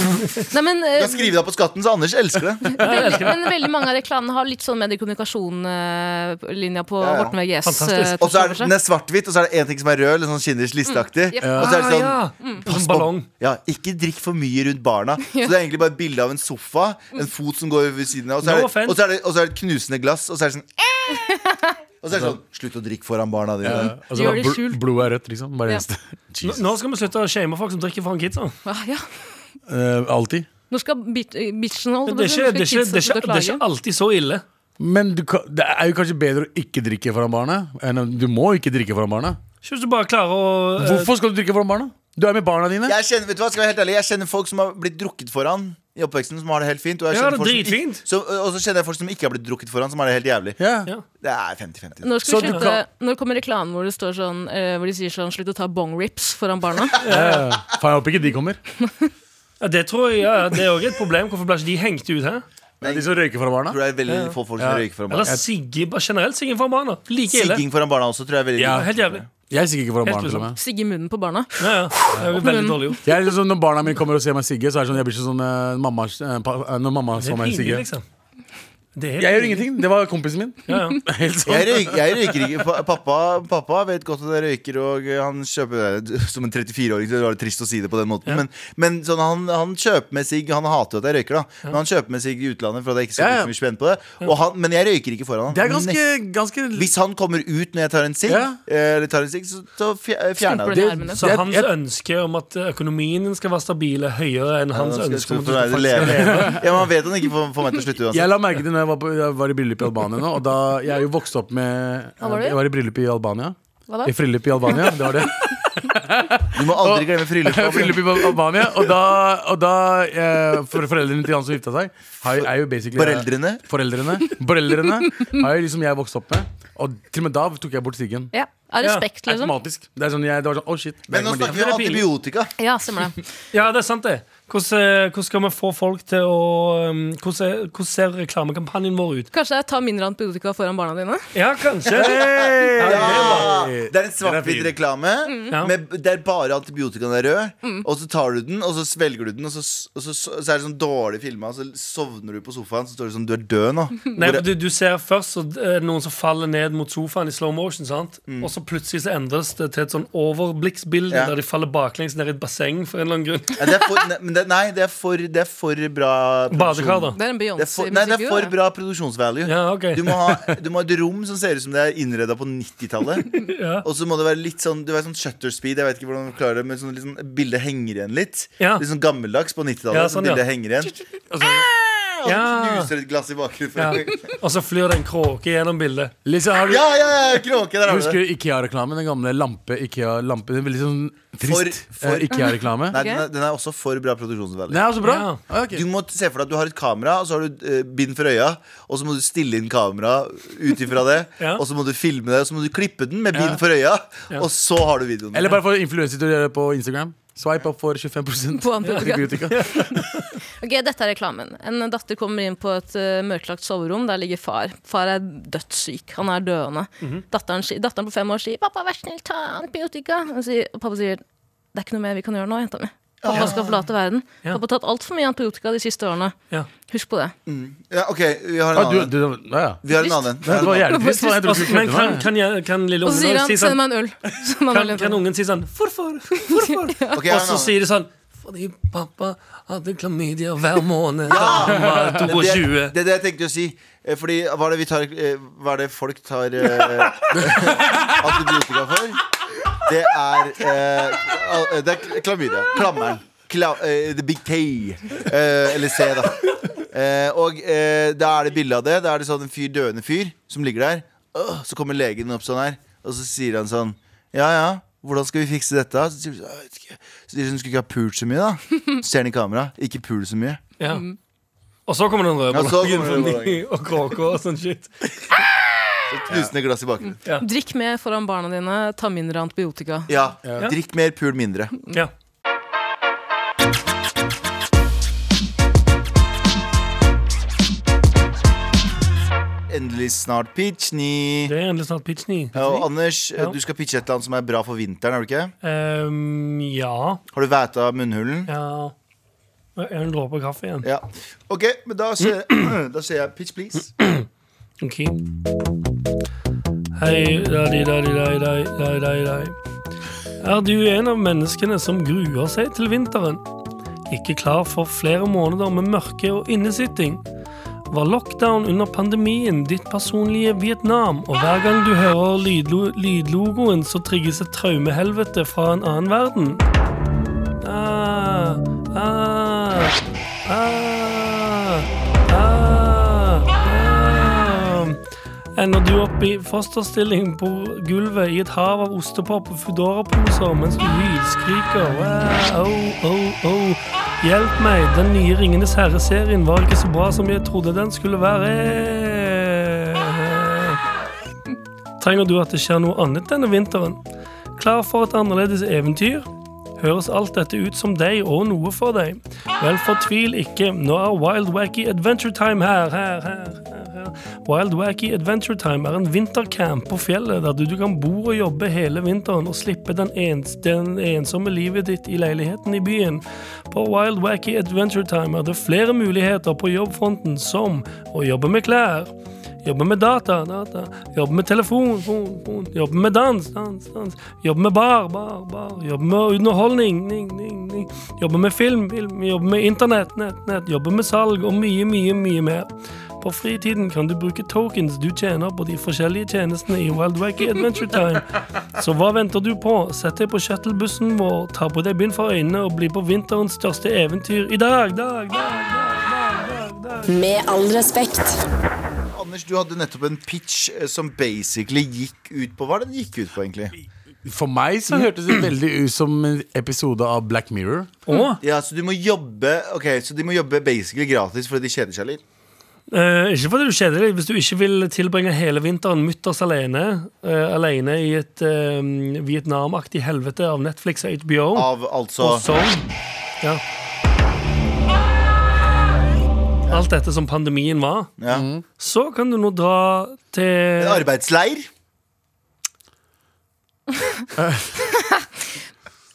Speaker 3: Nei, men, eh,
Speaker 2: Da skriver jeg på skatten, så Anders elsker det.
Speaker 3: veldig, men veldig mange av reklamene har litt sånn mediekommunikasjon-linja på
Speaker 2: Ja, ja.
Speaker 3: Morten VGS.
Speaker 5: Fantastisk.
Speaker 3: eh,
Speaker 2: Og så er det,
Speaker 3: torsdag,
Speaker 2: den er svart-hvitt, og så er det én ting som er rød, litt sånn Schindlers listeaktig.
Speaker 3: Mm,
Speaker 2: Og så er det sånn
Speaker 5: Ah, ja. Som ballong.
Speaker 2: ja, Ikke drikk for mye rundt barna. Så det er egentlig bare et bilde av en sofa, en fot som går ved siden av, og så
Speaker 5: No
Speaker 2: er det,
Speaker 5: offense.
Speaker 2: og så er det, og så er det et knusende glass, og så er det sånn Og så er det sånn Slutt å drikke foran barna dine.
Speaker 4: Ja, altså,
Speaker 3: Gjør det
Speaker 4: bl-
Speaker 3: skjult.
Speaker 4: Blodet er rødt, liksom. Bare det
Speaker 3: Ja.
Speaker 4: eneste.
Speaker 5: Nå
Speaker 4: Jesus.
Speaker 5: nå skal vi slutte å shame folk som drikker foran kidsa.
Speaker 3: Ah, ja.
Speaker 4: Eh, alltid.
Speaker 3: Nå skal bit- eh, bitchen holde
Speaker 5: Det er ikke, det er ikke, det er ikke, det er
Speaker 3: klage.
Speaker 5: ikke alltid så ille.
Speaker 4: Men du, kan- det er jo kanskje bedre å ikke drikke foran barna. Enn å- du må ikke drikke foran barna.
Speaker 5: Ikke hvis du bare klarer å eh,
Speaker 4: Hvorfor skal du drikke foran barna? Du er med barna dine.
Speaker 2: Jeg kjenner, vet du hva, skal jeg være helt ærlig Jeg kjenner folk som har blitt drukket foran i oppveksten, som har det helt fint. Og, jeg kjenner
Speaker 5: Ja, det er
Speaker 2: folk som
Speaker 5: dritfint.
Speaker 2: ikke- så, og så kjenner jeg folk som ikke har blitt drukket foran, som har det helt jævlig.
Speaker 4: Ja.
Speaker 5: Ja.
Speaker 2: Det er 50-50.
Speaker 3: Når, skal vi
Speaker 4: Så du
Speaker 3: slutte, når kommer reklamen hvor, det står sånn, eh, hvor de sier sånn 'slutt å ta bong-rips foran barna'?
Speaker 4: Eh, faen, jeg håper ikke de kommer.
Speaker 5: ja, Det tror jeg, ja, det er også et problem. Hvorfor ble ikke de hengt ut her?
Speaker 4: Men de som røyker foran barna.
Speaker 2: Jeg tror det er veldig få folk som
Speaker 4: Ja.
Speaker 2: røyker foran barna.
Speaker 5: Eller Sigge, bare generelt Sigge foran barna. Like ille.
Speaker 2: Sigging foran barna også, tror jeg er veldig
Speaker 4: Ja.
Speaker 5: Helt jævlig.
Speaker 4: Jeg er sikkert ikke foran
Speaker 5: Helt
Speaker 4: barna. til og
Speaker 5: usann.
Speaker 4: med.
Speaker 3: Sigge i munnen på barna.
Speaker 5: Ja, ja. Det er jo veldig dårlig gjort.
Speaker 4: Jeg er liksom, når barna mine kommer og ser meg sigge, så er det sånn, jeg blir ikke sånn eh, mamma, eh, pa, eh, Når mamma
Speaker 5: Det
Speaker 4: så
Speaker 5: er
Speaker 4: meg
Speaker 5: pinlig,
Speaker 4: sigge.
Speaker 5: liksom. Det er
Speaker 4: Jeg gjør ingenting. Det var kompisen min.
Speaker 5: Ja, ja.
Speaker 4: Helt sånn.
Speaker 2: Jeg, røyk, jeg røyker ikke. Pa- Pappa, pappa vet godt at jeg røyker, og eh, han kjøper det Som en 34-åring så var det trist å si det på den måten, men, men sånn, han, han kjøper med sigg Han hater jo at jeg røyker, da, men han kjøper med sigg i utlandet for at jeg ikke skal
Speaker 4: Ja, ja.
Speaker 2: bruke så mye spenn på det. Og han, men jeg røyker ikke foran han.
Speaker 4: Det er ganske, ganske
Speaker 2: Hvis han kommer ut når jeg tar en sigg,
Speaker 4: Ja.
Speaker 2: eh, eller tar en sigg, så, så fj- eh, fjerner jeg det.
Speaker 3: Stumper den i armene.
Speaker 5: Så
Speaker 4: Jeg-
Speaker 5: hans
Speaker 4: jeg-
Speaker 5: ønske om at økonomien skal være stabil, er høyere enn hans
Speaker 2: Ja, da skal jeg
Speaker 5: ønske om
Speaker 2: tro
Speaker 5: at
Speaker 2: for
Speaker 5: du
Speaker 2: deg
Speaker 5: skal
Speaker 2: til å
Speaker 5: faktisk
Speaker 2: leve. Ja, men Han vet han ikke får, får meg til å slutte uansett.
Speaker 4: Jeg la merke til når jeg var, på, jeg var i bryllup i Albania nå. Og da, jeg er jo vokst opp med
Speaker 3: Hva var det?
Speaker 4: Jeg var i bryllup i Albania.
Speaker 3: Hva da?
Speaker 4: I fryllup i Albania, det var det.
Speaker 2: Du må aldri glemme fryllupet.
Speaker 4: Bryllup i Albania. Og da, og da eh, for, foreldrene til han som gifta seg, har jo- er jo basically
Speaker 2: Foreldrene?
Speaker 4: Foreldrene, foreldrene har jo liksom jeg vokst opp med. Og til og med da tok jeg bort siggen.
Speaker 3: Ja. Av respekt, liksom.
Speaker 4: Automatisk. Det, er sånn, jeg, det var sånn, oh shit
Speaker 2: Men nå snakker vi om
Speaker 5: Det er pinlig.
Speaker 2: antibiotika.
Speaker 3: Ja, stemmer det.
Speaker 5: Ja, det er sant det. Hvordan, eh, hvordan skal vi få folk til å um, Hvordan, er- hvordan ser reklamekampanjen vår ut?
Speaker 3: Kanskje jeg tar mindre antibiotika foran barna dine?
Speaker 5: Ja, kanskje. Ja, det er bra.
Speaker 2: Ja! Det
Speaker 4: Hey!
Speaker 2: er en
Speaker 4: Den
Speaker 2: svart-hvitt
Speaker 4: er
Speaker 2: reklame
Speaker 5: Ja.
Speaker 2: med, der bare antibiotikaen er rød.
Speaker 5: Mm.
Speaker 2: Og så tar du den, og så svelger du den, og så, og så, så er det sånn dårlig filma, og så sovner du på sofaen, så står det sånn Du er død nå.
Speaker 5: Nei,
Speaker 2: Hvor
Speaker 5: for
Speaker 2: det-
Speaker 5: du, du ser først så, eh, noen som faller ned mot sofaen i slow motion, sant? og så plutselig så endres det til et sånn overblikksbilde
Speaker 2: Mm. Ja.
Speaker 5: der de faller baklengs ned i et basseng for en eller annen grunn.
Speaker 2: Ja, det er for, nei, men det, nei, det er for, det er for bra
Speaker 5: Badekar, da.
Speaker 3: Det er en
Speaker 2: Det er for, nei, det er for
Speaker 3: Beyoncé-musikkvideo.
Speaker 2: bra produksjonsvalue.
Speaker 5: Ja, ok.
Speaker 2: Du, må ha, du må ha et rom som ser ut som det er innreda på 90-tallet.
Speaker 5: Ja.
Speaker 2: Og så må det være litt sånn Du vet sånn shutter speed, jeg vet ikke hvordan du klarer det, men sånn, litt sånn, bildet henger igjen litt.
Speaker 5: Ja.
Speaker 2: Litt sånn gammeldags på 90-tallet.
Speaker 5: Ja,
Speaker 2: sånn,
Speaker 5: sånn, ja.
Speaker 2: bildet henger igjen. Og så
Speaker 5: Ja.
Speaker 2: knuser et glass i
Speaker 5: Ja.
Speaker 2: bakgrunnen.
Speaker 5: Og så flyr det en kråke gjennom bildet.
Speaker 4: Lisa, har du
Speaker 2: Ja, ja, ja, kråke, der har du
Speaker 4: Husker
Speaker 2: det.
Speaker 4: du Ikea-reklamen? Den gamle lampe, Ikea-lampe Den veldig sånn trist
Speaker 2: For- for-
Speaker 4: eh, Ikea-reklame
Speaker 2: Nei, den er, den er også for bra produksjonsvalue.
Speaker 4: Den er også bra
Speaker 5: Ja.
Speaker 4: Ah, ok.
Speaker 2: Du må t- se for deg at du har et kamera, og så har du eh, bind for øya. Og så må du stille inn kameraet ut ifra det,
Speaker 5: Ja.
Speaker 2: og så må du filme det, og så må du klippe den med bind for øya, og så har du videoen.
Speaker 4: Eller bare for influenser til å gjøre det på Instagram Swipe opp for 25%
Speaker 3: På antibiotika.
Speaker 4: antibiotika
Speaker 3: Ok, Dette er reklamen. En datter kommer inn på et eh, mørklagt soverom. Der ligger far. Far er dødssyk. Han er døende.
Speaker 5: Mhm.
Speaker 3: datteren, si- datteren på fem år sier 'pappa, vær snill, ta antibiotika'. Og sier, og pappa sier 'det er ikke noe mer vi kan gjøre nå, jenta mi'. Pappa skal forlate verden.
Speaker 5: Ja.
Speaker 3: Pappa har tatt altfor mye antibiotika de siste årene.
Speaker 5: Ja.
Speaker 3: Husk på det.
Speaker 2: Ja, ok, vi har en
Speaker 4: ah, du,
Speaker 2: annen en.
Speaker 4: du, ja, ja.
Speaker 2: Vi har en annen en. Vi
Speaker 4: Det
Speaker 2: har en
Speaker 4: var
Speaker 2: annen.
Speaker 4: jævlig trist men jeg tror
Speaker 5: Altså,
Speaker 4: ikke du
Speaker 5: men
Speaker 4: kødder
Speaker 5: kan,
Speaker 4: med
Speaker 5: kan, jeg- kan lille
Speaker 3: Og så sier
Speaker 5: ungen
Speaker 3: han
Speaker 5: si
Speaker 3: 'send
Speaker 5: sånn
Speaker 3: meg en øl'. Som han
Speaker 5: kan,
Speaker 3: har levd
Speaker 5: kan
Speaker 3: med.
Speaker 5: ungen si sånn Hvorfor? Hvorfor?
Speaker 2: Ok, jeg har
Speaker 5: Og
Speaker 2: en
Speaker 5: så
Speaker 2: annen.
Speaker 5: sier de sånn Fordi pappa hadde klamydia hver måned da
Speaker 2: Ja!
Speaker 5: han var
Speaker 2: det,
Speaker 5: 22.
Speaker 2: det er det jeg tenkte å si. Eh, Fordi hva er det, vi tar, eh, hva er det folk tar eh, antibiotika for? Det er eh, al- Det er klamydia. Klammeren. Kla, eh, the Big K. Eh, eller C, da. Eh, og eh, da er det bilde av det. Da er det sånn en fyr, døende fyr som ligger der. Åh, så kommer legen opp sånn her, og så sier han sånn Ja, ja, hvordan skal vi fikse dette? Så sier hun sånn, «Jeg vet ikke.» Så sier hun skulle ikke ha pult så mye, da. Så ser han i kamera. Ikke pult så mye.
Speaker 5: Ja. Og så kommer den røde
Speaker 2: Ja, så kommer den
Speaker 5: ballongen
Speaker 2: røde
Speaker 5: fordi- og kråka og sånn shit.
Speaker 2: Knusende glass i bakgrunnen.
Speaker 3: Drikk mer foran barna dine, ta mindre antibiotika.
Speaker 2: Ja. Drikk mer, pul mindre.
Speaker 5: Ja.
Speaker 2: Eh, endelig snart pitchni.
Speaker 5: Det er endelig snart pitch ni.
Speaker 2: Ja, Og Anders, eh,
Speaker 5: Ja.
Speaker 2: du skal pitche et eller annet som er bra for vinteren, har du ikke?
Speaker 5: Ehm, ja.
Speaker 2: Har du væta munnhulen?
Speaker 5: ja En dråpe kaffe igjen.
Speaker 2: Ja. OK, men da ser, da ser jeg Pitch Please.
Speaker 5: Ok. Hei, dai, dai, dai, dai, dai, dai, dai. Er du en av menneskene som gruer seg til vinteren? Ikke klar for flere måneder med mørke og innesitting? Var lockdown under pandemien ditt personlige Vietnam, og hver gang du hører lydlo lydlogoen, så trigges et traumehelvete fra en annen verden? Ah, ah, ah, ah, ah. Ender du opp i fosterstilling på gulvet i et hav av ostepop og Foodora-poser mens du hylskriker. Ah, oh, oh, oh. Hjelp meg, den nye Ringenes herre-serien var ikke så bra som jeg trodde den skulle være. Trenger du at det skjer noe annet denne vinteren? Klar for et annerledes eventyr? Høres alt dette ut som deg og noe for deg? Vel, fortvil ikke. Nå er Wild Wacky Adventure Time her, her, her. her, her. Wild Wacky Adventure Time er en vintercamp på fjellet der du, du kan bo og jobbe hele vinteren og slippe den, ens, den ensomme livet ditt i leiligheten i byen. På Wild Wacky Adventure Time er det flere muligheter på jobbfronten, som å jobbe med klær. Jobbe med data, data. Jobbe med telefon, fon, fon. Jobbe med dans, dans, dans. Jobbe med bar, bar, bar. Jobbe med underholdning, ning, ning, ning. Jobbe med film, film. Jobbe med internett, nett, nett. Jobbe med salg og mye, mye, mye mer. På fritiden kan du bruke tokens du tjener på de forskjellige tjenestene i Wild Wacky Adventure Time. Så hva venter du på? Sett deg på shuttlebussen vår, ta på deg bind for øynene og bli på vinterens største eventyr i dag, dag, dag, dag, dag, dag, dag.
Speaker 6: Med all respekt.
Speaker 2: Anders, du hadde nettopp en pitch eh, som basically gikk ut på Hva er det den gikk ut på, egentlig?
Speaker 4: For meg så hørtes det veldig ut som en episode av Black Mirror.
Speaker 5: Åh,
Speaker 2: Ja, så du må jobbe Ok, så de må jobbe basically gratis fordi de kjeder seg litt?
Speaker 5: Eh, ikke fordi du kjeder deg, hvis du ikke vil tilbringe hele vinteren mutters alene, eh, alene i et eh, Vietnam-aktig helvete av Netflix og HBO.
Speaker 2: Av altså
Speaker 5: og sånn. Ja. Alt dette som pandemien var.
Speaker 2: ja.
Speaker 5: Så kan du nå dra til
Speaker 2: En arbeidsleir?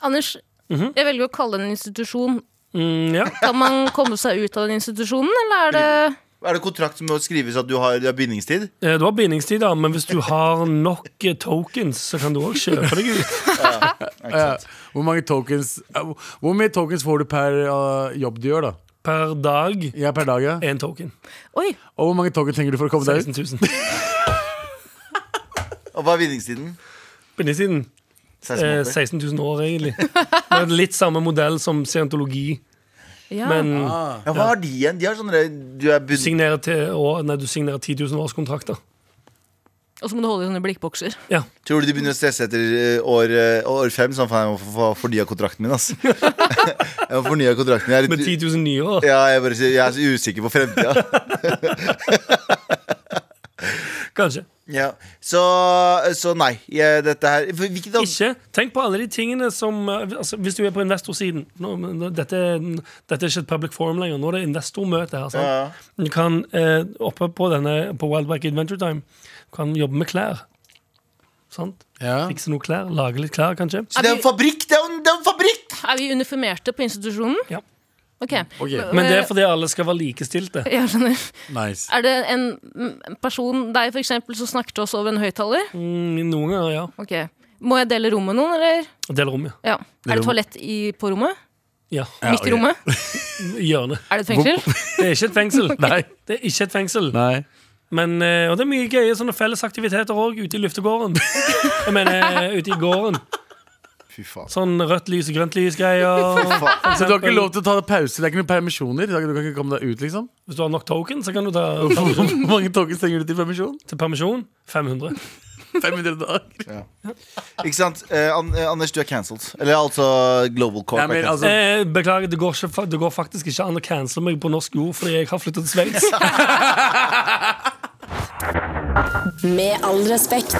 Speaker 3: Anders,
Speaker 5: Mhm.
Speaker 3: jeg velger å kalle det en institusjon.
Speaker 5: Mm, ja.
Speaker 3: Kan man komme seg ut av den institusjonen, eller er det
Speaker 2: Er det kontrakt som må skrives at du har, du har bindingstid?
Speaker 5: Eh, Du har bindingstid, da, men hvis du har nok eh, tokens, så kan du òg kjøpe deg ut.
Speaker 4: Eh, hvor mange tokens eh, hvor- Hvor mye tokens får du per eh, jobb du gjør, da?
Speaker 5: Per dag
Speaker 4: Ja, per dag, ja.
Speaker 5: én token.
Speaker 3: Oi!
Speaker 4: Og hvor mange tokens trenger du for å komme deg
Speaker 5: 16
Speaker 4: ut?
Speaker 5: 000.
Speaker 2: Og hva er bindingstiden?
Speaker 5: Bindingstiden.
Speaker 2: 16
Speaker 5: Eh,
Speaker 2: måneder.
Speaker 5: 16 000 år, egentlig. Det er litt samme modell som scientologi,
Speaker 3: Ja.
Speaker 5: men
Speaker 2: Ja, hva har de igjen? De har sånne Du er
Speaker 5: du
Speaker 2: bundet
Speaker 5: signerer, til år, nei, du signerer 10 000 års kontrakter.
Speaker 3: Og så må du holde i sånne blikkbokser.
Speaker 5: Ja.
Speaker 2: Tror du de begynner å stresse etter eh, år, eh, år fem? Sånn, faen, jeg må få- få fornya kontrakten min, ass. jeg må fornya kontrakten min. Jeg er
Speaker 5: Med
Speaker 2: litt-
Speaker 5: 10 000 nye år.
Speaker 2: Ja, jeg, bare, sier- jeg er så usikker på fremtida.
Speaker 5: Kanskje.
Speaker 2: Ja. Så, så nei. Jeg, dette her for Hvilket an-
Speaker 5: Ikke. Tenk på alle de tingene som eh, altså, Hvis du er på investorsiden nå, men dette, dette er ikke et public forum lenger. Nå er det investormøte her. Sant?
Speaker 2: Ja.
Speaker 5: Du kan eh, oppe på denne På Wild Wack Adventure Time Du kan jobbe med klær. Sant?
Speaker 4: Ja.
Speaker 5: Fikse noen klær. Lage litt klær, kanskje.
Speaker 2: Så det er en fabrikk! Det er jo en, det er en fabrikk!
Speaker 3: Er vi uniformerte på institusjonen?
Speaker 5: Ja.
Speaker 3: Ok.
Speaker 4: Ok.
Speaker 5: Men det er fordi alle skal være likestilte.
Speaker 3: Jeg skjønner.
Speaker 4: Nice.
Speaker 3: Er det en mm, person, deg for eksempel, som snakker til oss over en høyttaler?
Speaker 5: Mm, noen ganger, ja.
Speaker 3: Ok. Må jeg dele rom med noen, eller?
Speaker 5: Del rom, ja.
Speaker 3: Ja. Er
Speaker 4: Rom.
Speaker 3: det toalett i, på rommet?
Speaker 5: ja.
Speaker 3: Midt i
Speaker 4: ok.
Speaker 3: rommet?
Speaker 5: I Hjørnet.
Speaker 3: Er det et fengsel?
Speaker 5: Det er ikke et fengsel. Nei, det er ikke et fengsel.
Speaker 4: Nei.
Speaker 5: Men, eh, og det er mye gøye sånne felles aktiviteter òg ute i luftegården. Jeg mener eh, ute i gården.
Speaker 2: Fy faen.
Speaker 5: Sånn rødt lys og grønt lys-greier.
Speaker 2: faen.
Speaker 4: Så du har ikke lov til å ta deg pause? Det er ikke noen permisjoner? Du kan ikke komme deg ut, liksom?
Speaker 5: Hvis du har nok token, så kan du ta
Speaker 4: Hvor mange tokens trenger du til permisjon?
Speaker 5: til permisjon. 500.
Speaker 4: 500 dager?
Speaker 2: Ikke sant? Eh, An eh, Anders, du er cancelled. Eller altså Global Corp.
Speaker 4: Nei,
Speaker 2: er
Speaker 4: men
Speaker 2: cancelled.
Speaker 4: altså
Speaker 5: Eh, beklager, det går, ikke, fa- det går faktisk ikke an å cancele meg på norsk jord fordi jeg har flyttet til Sveits.
Speaker 6: Med all respekt.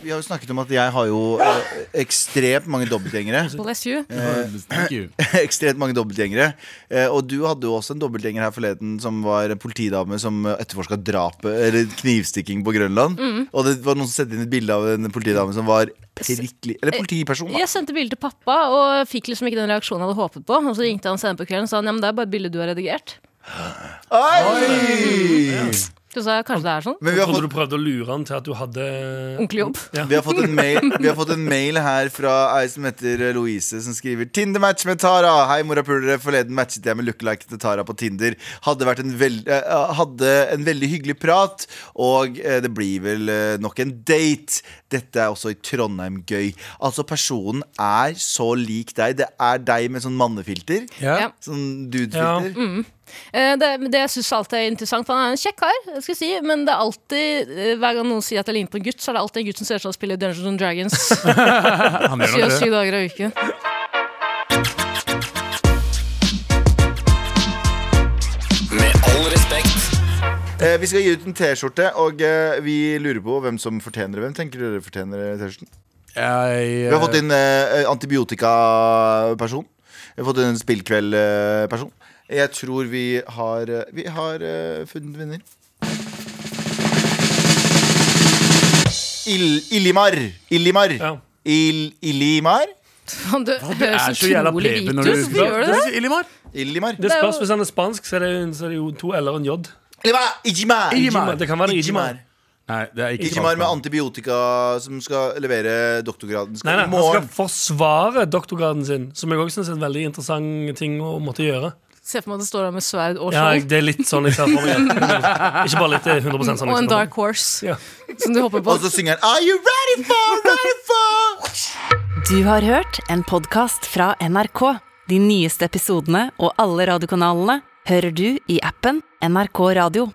Speaker 2: Vi vi har jo snakket om at jeg har jo eh, ekstremt mange dobbeltgjengere.
Speaker 3: Bless you.
Speaker 4: Eh, Thank you.
Speaker 2: ekstremt mange dobbeltgjengere. Eh, og du hadde jo også en dobbeltgjenger her forleden som var en politidame som etterforska drapet eller knivstikking på Grønland. Og det var noen som sendte inn et bilde av en politidame som var prikkelig Eller politiperson, da.
Speaker 3: Jeg sendte bilde til pappa og fikk liksom ikke den reaksjonen jeg hadde håpet på. Og så ringte han senere på kvelden og sa han, ja, men det er bare et bilde du har redigert.
Speaker 2: Oi!
Speaker 3: Så sa jeg kanskje det er sånn.
Speaker 2: Men vi har
Speaker 5: Trodde
Speaker 2: fått
Speaker 5: du prøvde å lure han til at du hadde Mm.
Speaker 3: Ordentlig jobb.
Speaker 2: vi har, fått en mail, vi har fått en mail her fra ei som heter Louise, som skriver Tinder-match med Tara. Hei, morapulere. Forleden matchet jeg med lookalike til Tara på Tinder. Hadde, vært en veld, eh, hadde en veldig hyggelig prat, og eh, det blir vel eh, nok en date. Dette er også i Trondheim gøy. Altså, personen er så lik deg. Det er deg med sånn mannefilter.
Speaker 4: Ja.
Speaker 3: Ja.
Speaker 2: Sånn dude-filter.
Speaker 3: Eh, Det, det jeg synes alltid er interessant, for han er en kjekk kar, jeg skal si, men det er alltid, eh, hver gang noen sier at jeg ligner på en gutt, så er det alltid en gutt som ser ut som han spiller Dungeons and Dragons
Speaker 4: Han gjør nok
Speaker 3: 27
Speaker 4: det.
Speaker 3: dager i uken.
Speaker 7: Med all respekt.
Speaker 2: Eh, vi skal gi ut en T-skjorte, og eh, vi lurer på hvem som fortjener det. Hvem tenker dere fortjener T-skjorten?
Speaker 4: Jeg,
Speaker 2: Vi har fått inn eh, antibiotikaperson. Vi har fått inn en spillkveldperson. Jeg tror vi har, eh, vi har eh, funnet vinner. Il Illimar. Illimar.
Speaker 5: Ja.
Speaker 2: Il Illimar?
Speaker 3: Han dø-
Speaker 4: er
Speaker 3: høres
Speaker 4: så jævla
Speaker 3: utrolig
Speaker 4: plebe
Speaker 3: hvit ut.
Speaker 4: når du
Speaker 3: Hvorfor gjør du det?
Speaker 4: Illimar.
Speaker 2: Illimar.
Speaker 5: Det spørs hvis han er spansk, så er det, så er det jo to L-er og en J.
Speaker 2: Illimar. Ijimar.
Speaker 5: Ijimar. Det kan være Ijimar.
Speaker 4: Nei, det er ikke
Speaker 2: Ijimar med
Speaker 4: sant.
Speaker 2: antibiotika som skal levere doktorgraden.
Speaker 5: Nei,
Speaker 2: Skal
Speaker 5: nei,
Speaker 2: i
Speaker 5: han skal
Speaker 2: morgen.
Speaker 5: forsvare doktorgraden sin, som jeg også synes er en veldig interessant ting å måtte gjøre.
Speaker 3: Se for meg at det står der med sverd og
Speaker 5: Ja,
Speaker 3: skjold.
Speaker 5: jeg- det er litt sånn jeg ser for meg. Ikke bare litt, det er 100 sånn.
Speaker 3: og en
Speaker 5: jeg ser for meg.
Speaker 3: dark horse
Speaker 5: Ja.
Speaker 3: som du hopper på.
Speaker 2: Og så synger han Are you ready for, ready for?
Speaker 1: Du har hørt en podcast fra NRK. De nyeste episodene og alle radiokanalene hører du i appen NRK Radio.